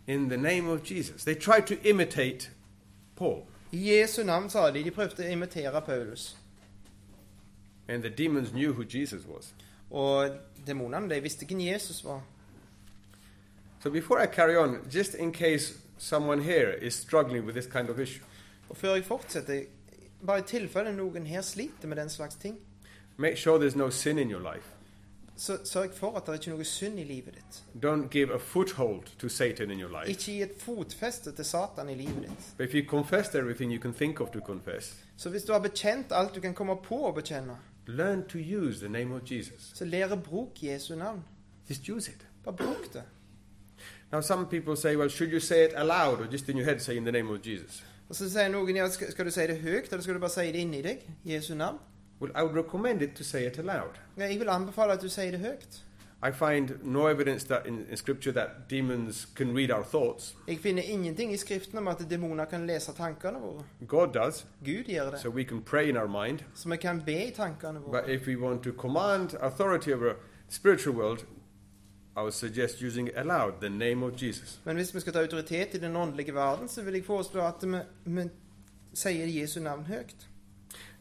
B: In the name of Jesus. They tried to imitate Paul,
C: I Jesu navn, sa de, de prøvde å imitere Paulus.
B: and the demons knew who Jesus was.
C: Og demonene, de visste hvem Jesus var.
B: So before I carry on, just in case someone here is struggling with this kind of issue,
C: Og før jeg fortsetter, bare i tilfelle noen her sliter med den slags ting,
B: make sure there's no sin in your life.
C: så sørg for at det er ikke noe synd i livet ditt.
B: Don't give a foothold to Satan in your life.
C: Ikke gi et fotfeste til Satan i livet ditt.
B: But if you confessed everything you can think of to confess,
C: Så hvis du har bekjent alt du kan komme på å bekjenne,
B: learn to use the name of Jesus.
C: så lære bruk Jesu navn.
B: Just use it.
C: Bare bruk det.
B: Now, some people say, well, should you say it aloud or just in your head say in the name of Jesus?
C: Og så sier noen ja, skal skal du si det høyt, eller skal du bare si det inni deg? Jesu navn?
B: Well, I would recommend it to say it aloud.
C: Ja, jeg vil anbefale at du sier det høyt.
B: I find no evidence that in, in Scripture that demons can read our thoughts.
C: Jeg finner ingenting i Skriften om at demoner kan lese tankene våre.
B: God does,
C: Gud gjør det.
B: so we can pray in our mind.
C: Så vi kan be i tankene våre.
B: But if we want to command authority over spiritual world, I would suggest using aloud the name of Jesus.
C: Men hvis vi skal ta autoritet i den åndelige verden, så vil jeg foreslå at vi, vi sier Jesu navn høyt.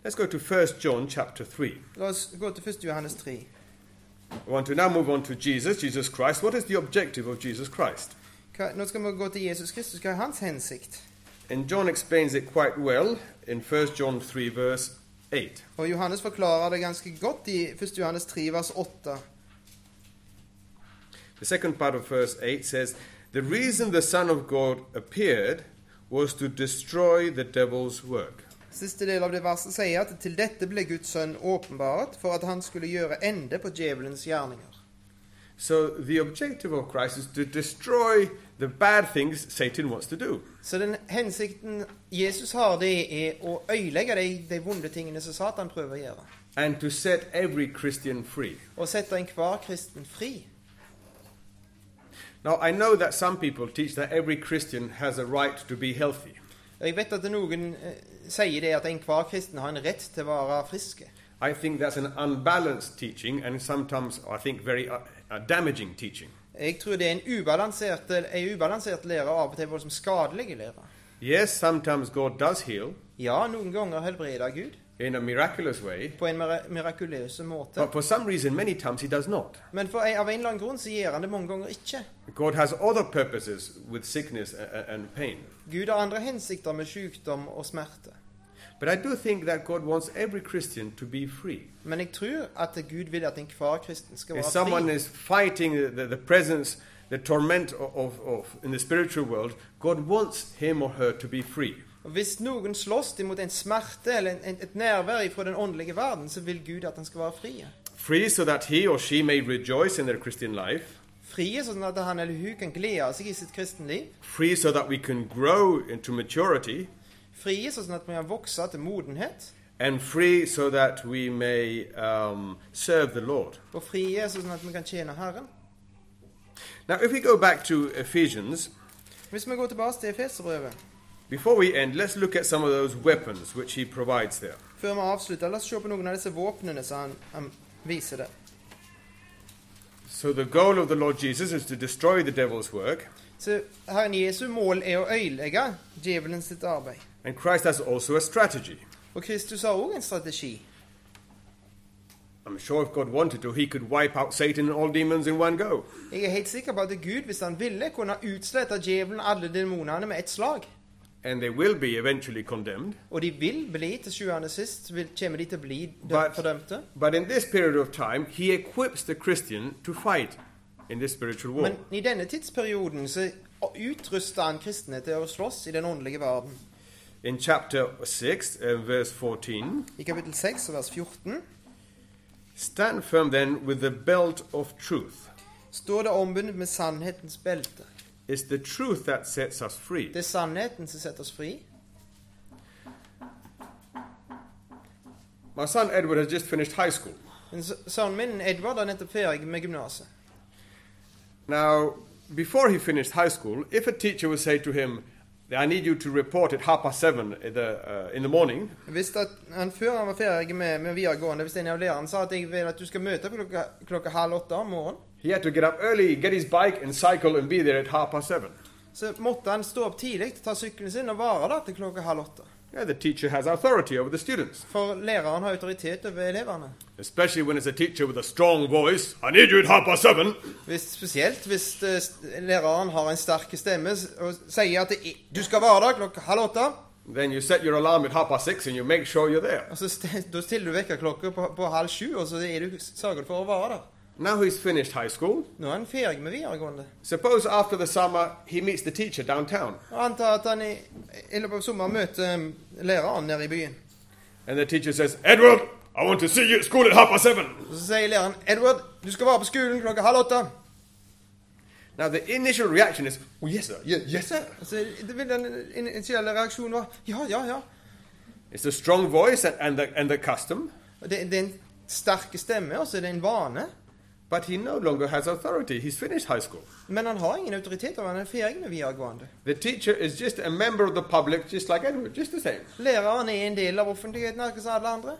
B: Let's go to 1 John chapter 3.
C: La oss gå til 1. Johannes 3.
B: I want to now move on to Jesus, Jesus Christ. What is the objective of Jesus Christ?
C: Hva, nå skal vi gå til Jesus Kristus. Hva er hans hensikt?
B: And John explains it quite well in 1 John 3, verse 8.
C: Og Johannes forklarer det ganske godt i 1. Johannes 3, vers 8.
B: The second part of verse 8 says, The reason the Son of God appeared was to destroy the devil's work.
C: Siste del av det verset sier at til dette ble Guds sønn åpenbart for at han skulle gjøre ende på djevelens gjerninger.
B: So the objective of Christ is to destroy the bad things Satan wants to do.
C: Så den hensikten Jesus har, det er å øyelegge de, de vonde tingene som Satan prøver å gjøre.
B: and to set every Christian free.
C: Og sette enhver kristen fri.
B: Now, I know that some people teach that every Christian has a right to be healthy.
C: Og Jeg vet at noen eh, sier det at enhver kristen har en rett til å være friske.
B: I think that's an unbalanced teaching and sometimes I think very uh, uh, damaging teaching.
C: Jeg tror det er en ubalansert, en ubalansert lære og av og til voldsomt skadelige lære.
B: Yes, sometimes God does heal
C: Ja, noen ganger helbreder Gud
B: in a miraculous way,
C: på en mira- mirakuløs måte.
B: but for some reason, many times He does not.
C: Men for en, av en eller annen grunn så gjør han det mange ganger ikke.
B: God has other purposes with sickness a- a- and pain.
C: Gud har andre hensikter med sykdom og smerte.
B: But I do think that God wants every Christian to be free.
C: Men jeg tror at Gud vil at enhver kristen skal
B: If someone
C: være fri.
B: is fighting the, the, the presence, the torment of, of, of in the spiritual world, God wants him or her to be free.
C: Og Hvis noen slåss imot en smerte eller en, en, et nærvær fra den åndelige verden, så vil Gud at han skal være fri.
B: Free so that he or she may rejoice in their Christian life.
C: Fri sånn at han eller hun kan glede seg i sitt kristenliv.
B: Free so that we can grow into maturity.
C: Frie sånn at vi kan vokse til modenhet,
B: And free so that we may um, serve the Lord.
C: og frie sånn at vi kan tjene Herren.
B: Now, if we go back to Ephesians,
C: Hvis vi går tilbake til Efeserbrevet,
B: before we end, let's look at some of those weapons which he provides there.
C: før vi avslutter, la oss se på noen av disse våpnene som han, han viser der.
B: So, the goal of the Lord Jesus is to destroy the devil's work.
C: Så Herren Jesu mål er å øyelegge djevelen sitt arbeid.
B: And Christ has also a strategy.
C: Og Kristus har òg en strategi.
B: I'm sure if God wanted to, he could wipe out Satan and all demons in one go.
C: Jeg er helt sikker på at Gud, hvis han ville, kunne utslette djevelen og alle demonene med ett slag.
B: And they will be eventually condemned.
C: Og de vil bli, til sjuende og sist, vil, kommer de til å bli dø-
B: But-
C: fordømte.
B: But in this period of time, he equips the Christian to fight in this spiritual war.
C: Men i denne tidsperioden så utruster han kristne til å slåss i den åndelige verden.
B: In chapter 6, uh, verse 14,
C: I kapittel 6, vers 14,
B: stand firm then with the belt of truth.
C: står det ombundet med sannhetens belte.
B: It's the truth that sets us free.
C: Det er sannheten som setter oss fri.
B: My son Edward has just finished high school.
C: Men s- Sønnen min Edvard er nettopp ferdig med gymnaset.
B: Now, before he finished high school, if a teacher would say to him, I need you to report at half past seven in the, uh, in the morning,
C: Hvis at han før han var ferdig med, med videregående, hvis en av lærerne sa at jeg vil at du skal møte klokka, klokka halv åtte om morgenen,
B: he had to get up early, get his bike, and cycle and be there at half past seven.
C: så måtte han stå opp tidlig, ta sykkelen sin og være der til klokka halv åtte.
B: Yeah, the teacher has authority over the students,
C: For læreren har autoritet over elevene.
B: especially when it's a teacher with a strong voice. I need you at half past seven.
C: Hvis, spesielt hvis eh, s- læreren har en sterk stemme s- og sier at det i- du skal være der klokka halv åtte,
B: Then you set your alarm at half past six and you make sure you're there.
C: og så st- da stiller du vekkerklokka på, på halv sju, og så er du sørget for å være der.
B: Now he's finished high school.
C: Nå er han ferdig med videregående.
B: Suppose after the summer he meets the teacher downtown,
C: Og anta at han i, i løpet av sommeren møter eh, læreren nede i byen.
B: and the teacher says, Edward, I want to see you at school at half past seven.
C: Og så sier læreren Edward, du skal være på skolen klokka halv åtte.
B: Now the initial reaction is, oh, yes, sir, yes, yes, sir.
C: Og Så det vil den initielle reaksjonen være ja, ja, ja.
B: It's the strong voice and, and, the, and the custom,
C: Og det, det er en sterk stemme, og så er det en vane.
B: but he no longer has authority. He's finished high school.
C: Men han har ingen autoritet over han er ferdig med videregående.
B: The teacher is just a member of the public, just like Edward, just the same.
C: Læreren er en del av offentligheten, akkurat som alle andre.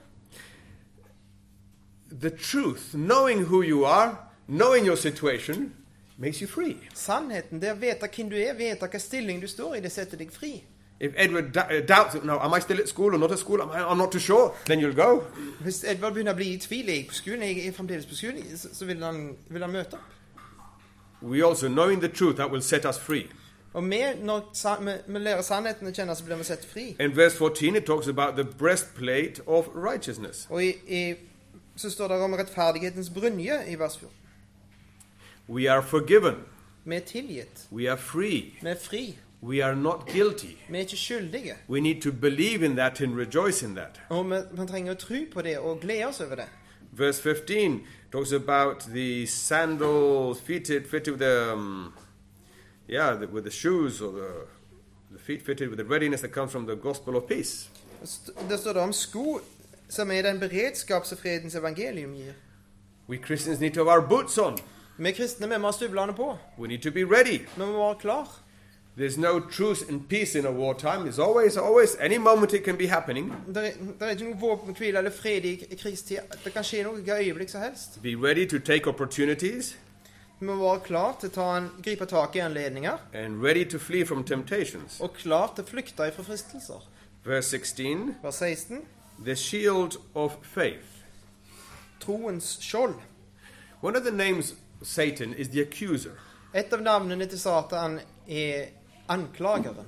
B: The truth, knowing who you are, knowing your situation, makes you free.
C: Sannheten, det å vite hvem du er, vite hvilken stilling du står i, det setter deg fri.
B: If Edward d- uh, doubts, no, am I still at school or not at school? Am I, I'm not too sure. Then you'll go.
C: Hvis Edvard begynner å bli i tvil, er jeg på skolen, jeg er fremdeles på skolen, så så vil han, vil han møte opp.
B: We also, knowing the truth, that will set us free.
C: Og vi, når sa- vi, vi lærer sannheten å kjenne, så blir vi satt fri.
B: In verse 14, it talks about the breastplate of righteousness.
C: Og i, i, så står det om rettferdighetens brynje i vers 14.
B: We are forgiven.
C: Vi er tilgitt.
B: We are free.
C: Vi er fri.
B: We are not guilty.
C: Vi er ikke skyldige.
B: We need to believe in that and rejoice in that.
C: Og vi, vi trenger å tro på det og glede oss over det.
B: Verse 15 talks about the sandals fitted, fitted with the, um, yeah, the, with the shoes or the, the feet fitted with the readiness that comes from the gospel of peace.
C: Og st- Der står det om sko, som er den beredskap som fredens evangelium gir.
B: We Christians need to have our boots on.
C: Vi kristne vi må ha støvlene på.
B: We need to be ready.
C: Vi må være klar.
B: There's no truce and peace in a wartime. There's always, always, any moment it can be happening.
C: Det er, der er ikke noe våpenhvile eller fred i k- krigstid. Det kan skje noe hvilket øyeblikk som helst.
B: Be ready to take opportunities
C: Vi må være klar til å ta en, gripe tak i anledninger,
B: and ready to flee from temptations.
C: og klar til å flykte ifra fristelser.
B: Verse 16
C: Vers 16.
B: the shield of faith.
C: Troens skjold.
B: One of the names of Satan is the accuser.
C: Et av navnene til Satan er anklageren.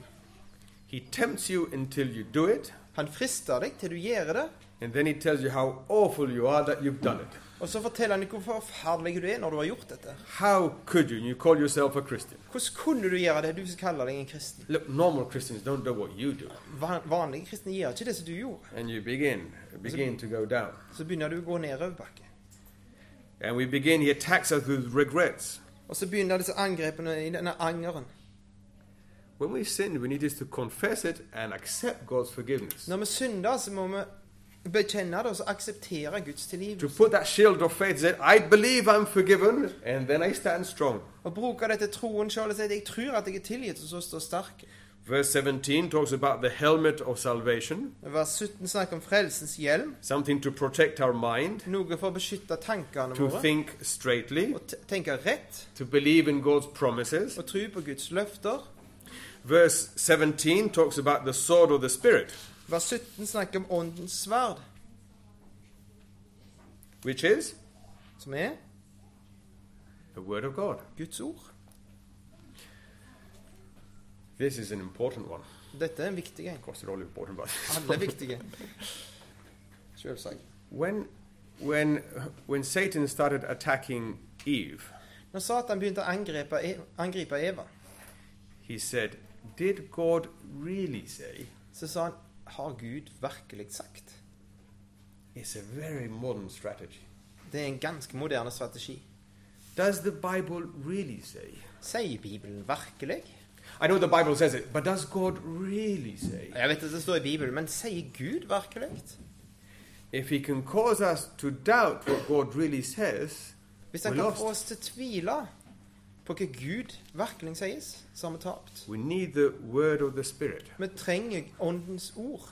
B: He tempts you until you do it,
C: Han frister deg til du gjør det,
B: and then he tells you how awful you are that you've done it.
C: og så forteller han deg hvor forferdelig du er når du har gjort dette.
B: How could you? And you call yourself a Christian.
C: Hvordan kunne du gjøre det, du som kaller deg en kristen?
B: Look, normal Christians don't do what you do.
C: Van- Vanlige kristne gjør ikke det som du gjorde.
B: And you begin, begin to go down.
C: Så begynner du å gå nedoverbakke.
B: And we begin, he attacks us with regrets.
C: Og så begynner disse angrepene i denne angeren.
B: When we sin, we need is to confess it and accept God's forgiveness.
C: Når vi synder, så må vi bekjenne det og så akseptere Guds
B: To
C: tilgivelse.
B: put that shield of faith that I believe I'm forgiven, and then I stand strong.
C: Og bruke dette troen selv og si at 'jeg tror at jeg er tilgitt', og så stå sterk.
B: Verse 17 talks about the helmet of salvation,
C: Vers 17 snakker om frelsens hjelm,
B: something to protect our mind,
C: noe for å beskytte tankene
B: to
C: våre.
B: think straightly,
C: Å t- tenke rett,
B: to believe in God's promises.
C: og tro på Guds løfter.
B: Verse 17 talks about the sword of the Spirit,
C: Vers 17 snakker om åndens sverd,
B: which is
C: som er
B: the Word of God.
C: Guds ord.
B: This is an important one.
C: Dette er en viktig en.
B: Of course, they're all important, but.
C: Alle er viktige. Selvsagt.
B: When, when, when Satan started attacking Eve,
C: Når Satan begynte å angripe, E- angripe Eva,
B: he said, Did God really say?
C: så sa han Har Gud virkelig sagt?
B: It's a very modern strategy.
C: Det er en ganske moderne strategi.
B: Does the Bible really say?
C: Sier Bibelen virkelig?
B: I know the Bible says it, but does God really say?
C: Jeg vet at det står i Bibelen, men sier Gud virkelig?
B: If he can cause us to doubt what God really says,
C: Hvis
B: we're
C: han kan
B: lost.
C: få oss til å tvile på hva Gud virkelig sies, så har vi tapt.
B: We need the word of the Spirit.
C: Vi trenger Åndens ord.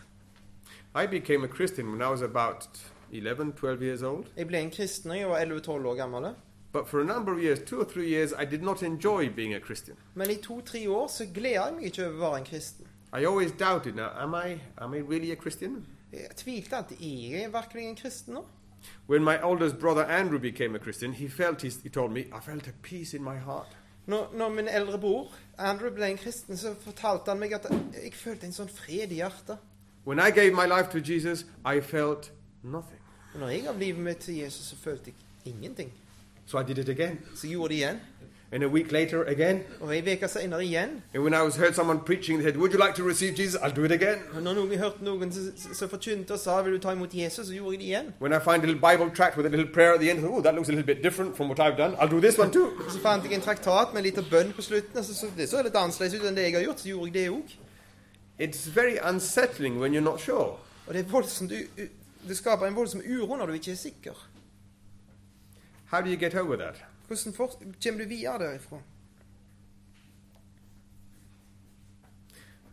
B: I became a Christian when I was about 11, 12 years old.
C: Jeg ble en kristen da jeg var 11-12 år gammel.
B: But for a number of years, two or three years, I did not enjoy being a Christian.
C: Men i to-tre år så gleda jeg meg ikke over å være en kristen.
B: I always doubted, now, am I, am I really a Christian?
C: Jeg tvilte alltid er jeg virkelig en kristen nå.
B: When my oldest brother Andrew became a Christian, he felt, he, he told me, I felt a peace in my heart.
C: Når, når min eldre bror Andrew ble en kristen, så fortalte han meg at jeg følte en sånn fred i hjertet.
B: When I gave my life to Jesus, I felt nothing.
C: Men når jeg gav livet mitt til Jesus, så følte jeg ingenting.
B: So I did it again.
C: Så jeg gjorde det igjen.
B: And a week later, again.
C: Og ei uke senere igjen.
B: And when I was heard someone preaching, they said, Would you like to receive Jesus? I'll do it again.
C: Og når noen hørte noen som som forkynte og sa 'Vil du ta imot Jesus?', så gjorde jeg det igjen.
B: When I find a little Bible tract with a little prayer at the end, oh, that looks a little bit different from what I've done. I'll do this one too.
C: Og så fant jeg en traktat med en liten bønn på slutten, og så så det så litt annerledes ut enn det jeg har gjort, så gjorde jeg det òg.
B: It's very unsettling when you're not sure.
C: Og det er voldsomt u u Det skaper en voldsom uro når du ikke er sikker.
B: How do you get over that?
C: Hvordan for, kommer du videre derifra?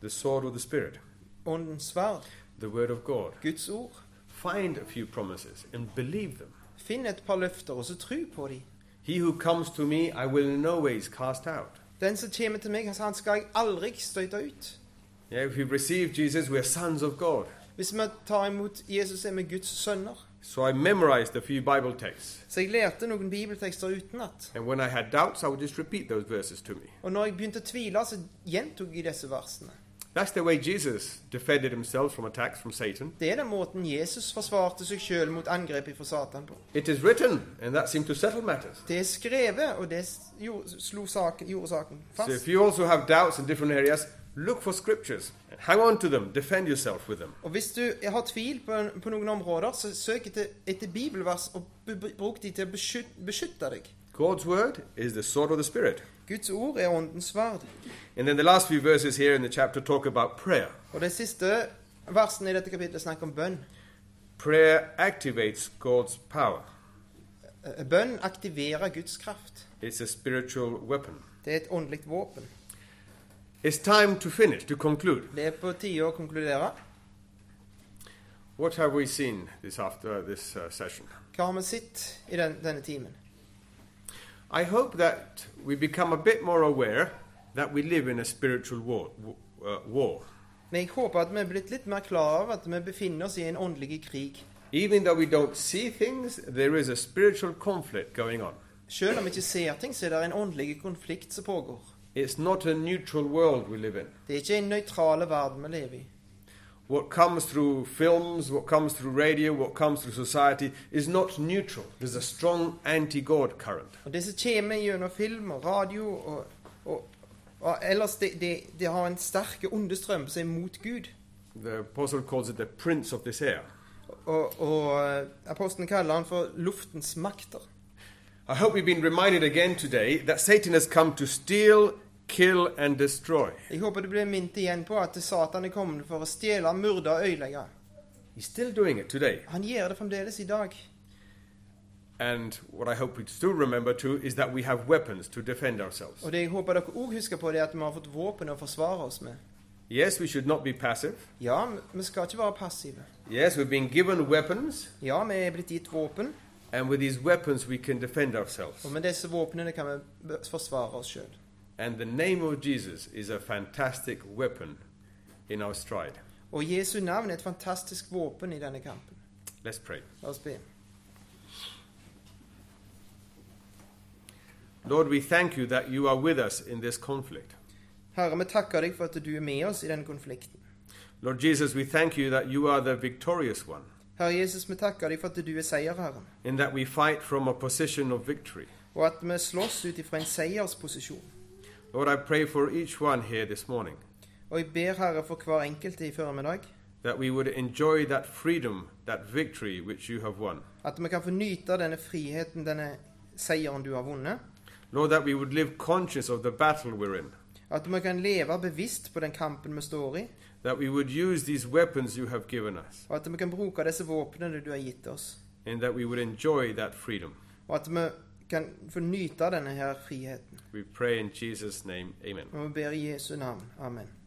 B: The sword of the Spirit,
C: Åndens sverd,
B: the Word of God.
C: Guds ord.
B: Find a few promises and believe them.
C: Finn et par løfter, og så tru på dem.
B: He who comes to me, I will in no ways cast out.
C: Den som kommer til meg, han skal jeg aldri støte ut.
B: Yeah, if we receive Jesus, we are sons of God.
C: Hvis vi tar imot Jesus, er vi Guds sønner.
B: So I memorized a few Bible texts.
C: Så jeg lærte noen bibeltekster utenat.
B: And when I had doubts, I would just repeat those verses to me.
C: Og når jeg begynte å tvile, så gjentok jeg disse versene.
B: That's the way Jesus defended himself from attacks from Satan.
C: Det er den måten Jesus forsvarte seg sjøl mot angrep fra Satan på.
B: It is written, and that seemed to settle matters.
C: Det er skrevet, og det s- gjorde, slo saken, gjorde saken
B: So if
C: fast.
B: you also have doubts in different areas, look for scriptures. Hang on to them, defend yourself with them.
C: Og hvis du har tvil på, på noen områder, så søk etter, etter bibelvers og be, be- bruk de til å beskytte, beskytte deg.
B: God's word is the sword of the spirit.
C: Guds ord er åndens sverd.
B: And then the last few verses here in the chapter talk about prayer.
C: Og de siste versene i dette kapitlet snakker om bønn.
B: Prayer activates God's power.
C: Eh, Bønn aktiverer Guds kraft.
B: It's a spiritual weapon.
C: Det er et åndelig våpen.
B: It's time to finish, to conclude.
C: Det er på tide å konkludere.
B: What have we seen this after this uh, session?
C: Hva har vi sett i den, denne timen?
B: I hope that we become a bit more aware that we live in a spiritual war. w- Uh, war.
C: Men jeg håper at vi er blitt litt mer klar over at vi befinner oss i en åndelig krig.
B: Even though we don't see things, there is a spiritual conflict going on.
C: Selv om vi ikke ser ting, så er det en åndelig konflikt som pågår.
B: It's not a neutral world we live in.
C: Det er ikke en nøytral verden vi lever i.
B: What comes through films, what comes through radio, what comes through society is not neutral. There's a strong anti God current.
C: Og Det som kommer gjennom film og radio og, og, og ellers, det, det, det har en sterk ondestrøm som er mot Gud.
B: The apostle calls it the prince of this air.
C: Og, og eh, apostelen kaller han for luftens makter.
B: I hope we've been reminded again today that Satan has come to steal, kill, and destroy.
C: Jeg håper det blir minnet igjen på at Satan er kommet for å stjele, myrde og ødelegge.
B: He's still doing it today.
C: Han gjør det fremdeles i dag.
B: And what I hope we still remember too is that we have weapons to defend ourselves.
C: Og det jeg håper dere òg husker på, det er at vi har fått våpen å forsvare oss med.
B: Yes, we should not be passive.
C: Ja, vi skal ikke være passive.
B: Yes, we've been given weapons,
C: Ja, vi er blitt gitt våpen,
B: and with these weapons we can defend ourselves.
C: og med disse våpnene kan vi be- forsvare oss sjøl.
B: And the name of Jesus is a fantastic weapon in our stride.
C: Og Jesu navn er et fantastisk våpen i denne kampen.
B: Let's pray.
C: La oss be.
B: Lord, we thank you that you are with us in this conflict.
C: Herre, vi takker deg for at du er med oss i denne konflikten.
B: Lord Jesus, we thank you that you are the victorious one,
C: Herre Jesus, vi takker deg for at du er seierherren,
B: in that we fight from a position of victory.
C: og at vi slåss ut ifra en seiersposisjon.
B: Lord, I pray for each one here this morning
C: Og jeg ber Herre for hver enkelt i formiddag,
B: that we would enjoy that freedom, that victory which you have won.
C: at vi kan få nyte denne friheten, denne seieren du har vunnet.
B: Lord, that we would live conscious of the battle we're in,
C: At vi kan leve bevisst på den kampen vi står i,
B: that we would use these weapons you have given us,
C: og at vi kan bruke disse våpnene du har gitt oss.
B: and that we would enjoy that freedom.
C: Og at vi kan få nyte denne her friheten.
B: We pray in Jesus' name. Amen.
C: Og vi ber i Jesu navn. Amen.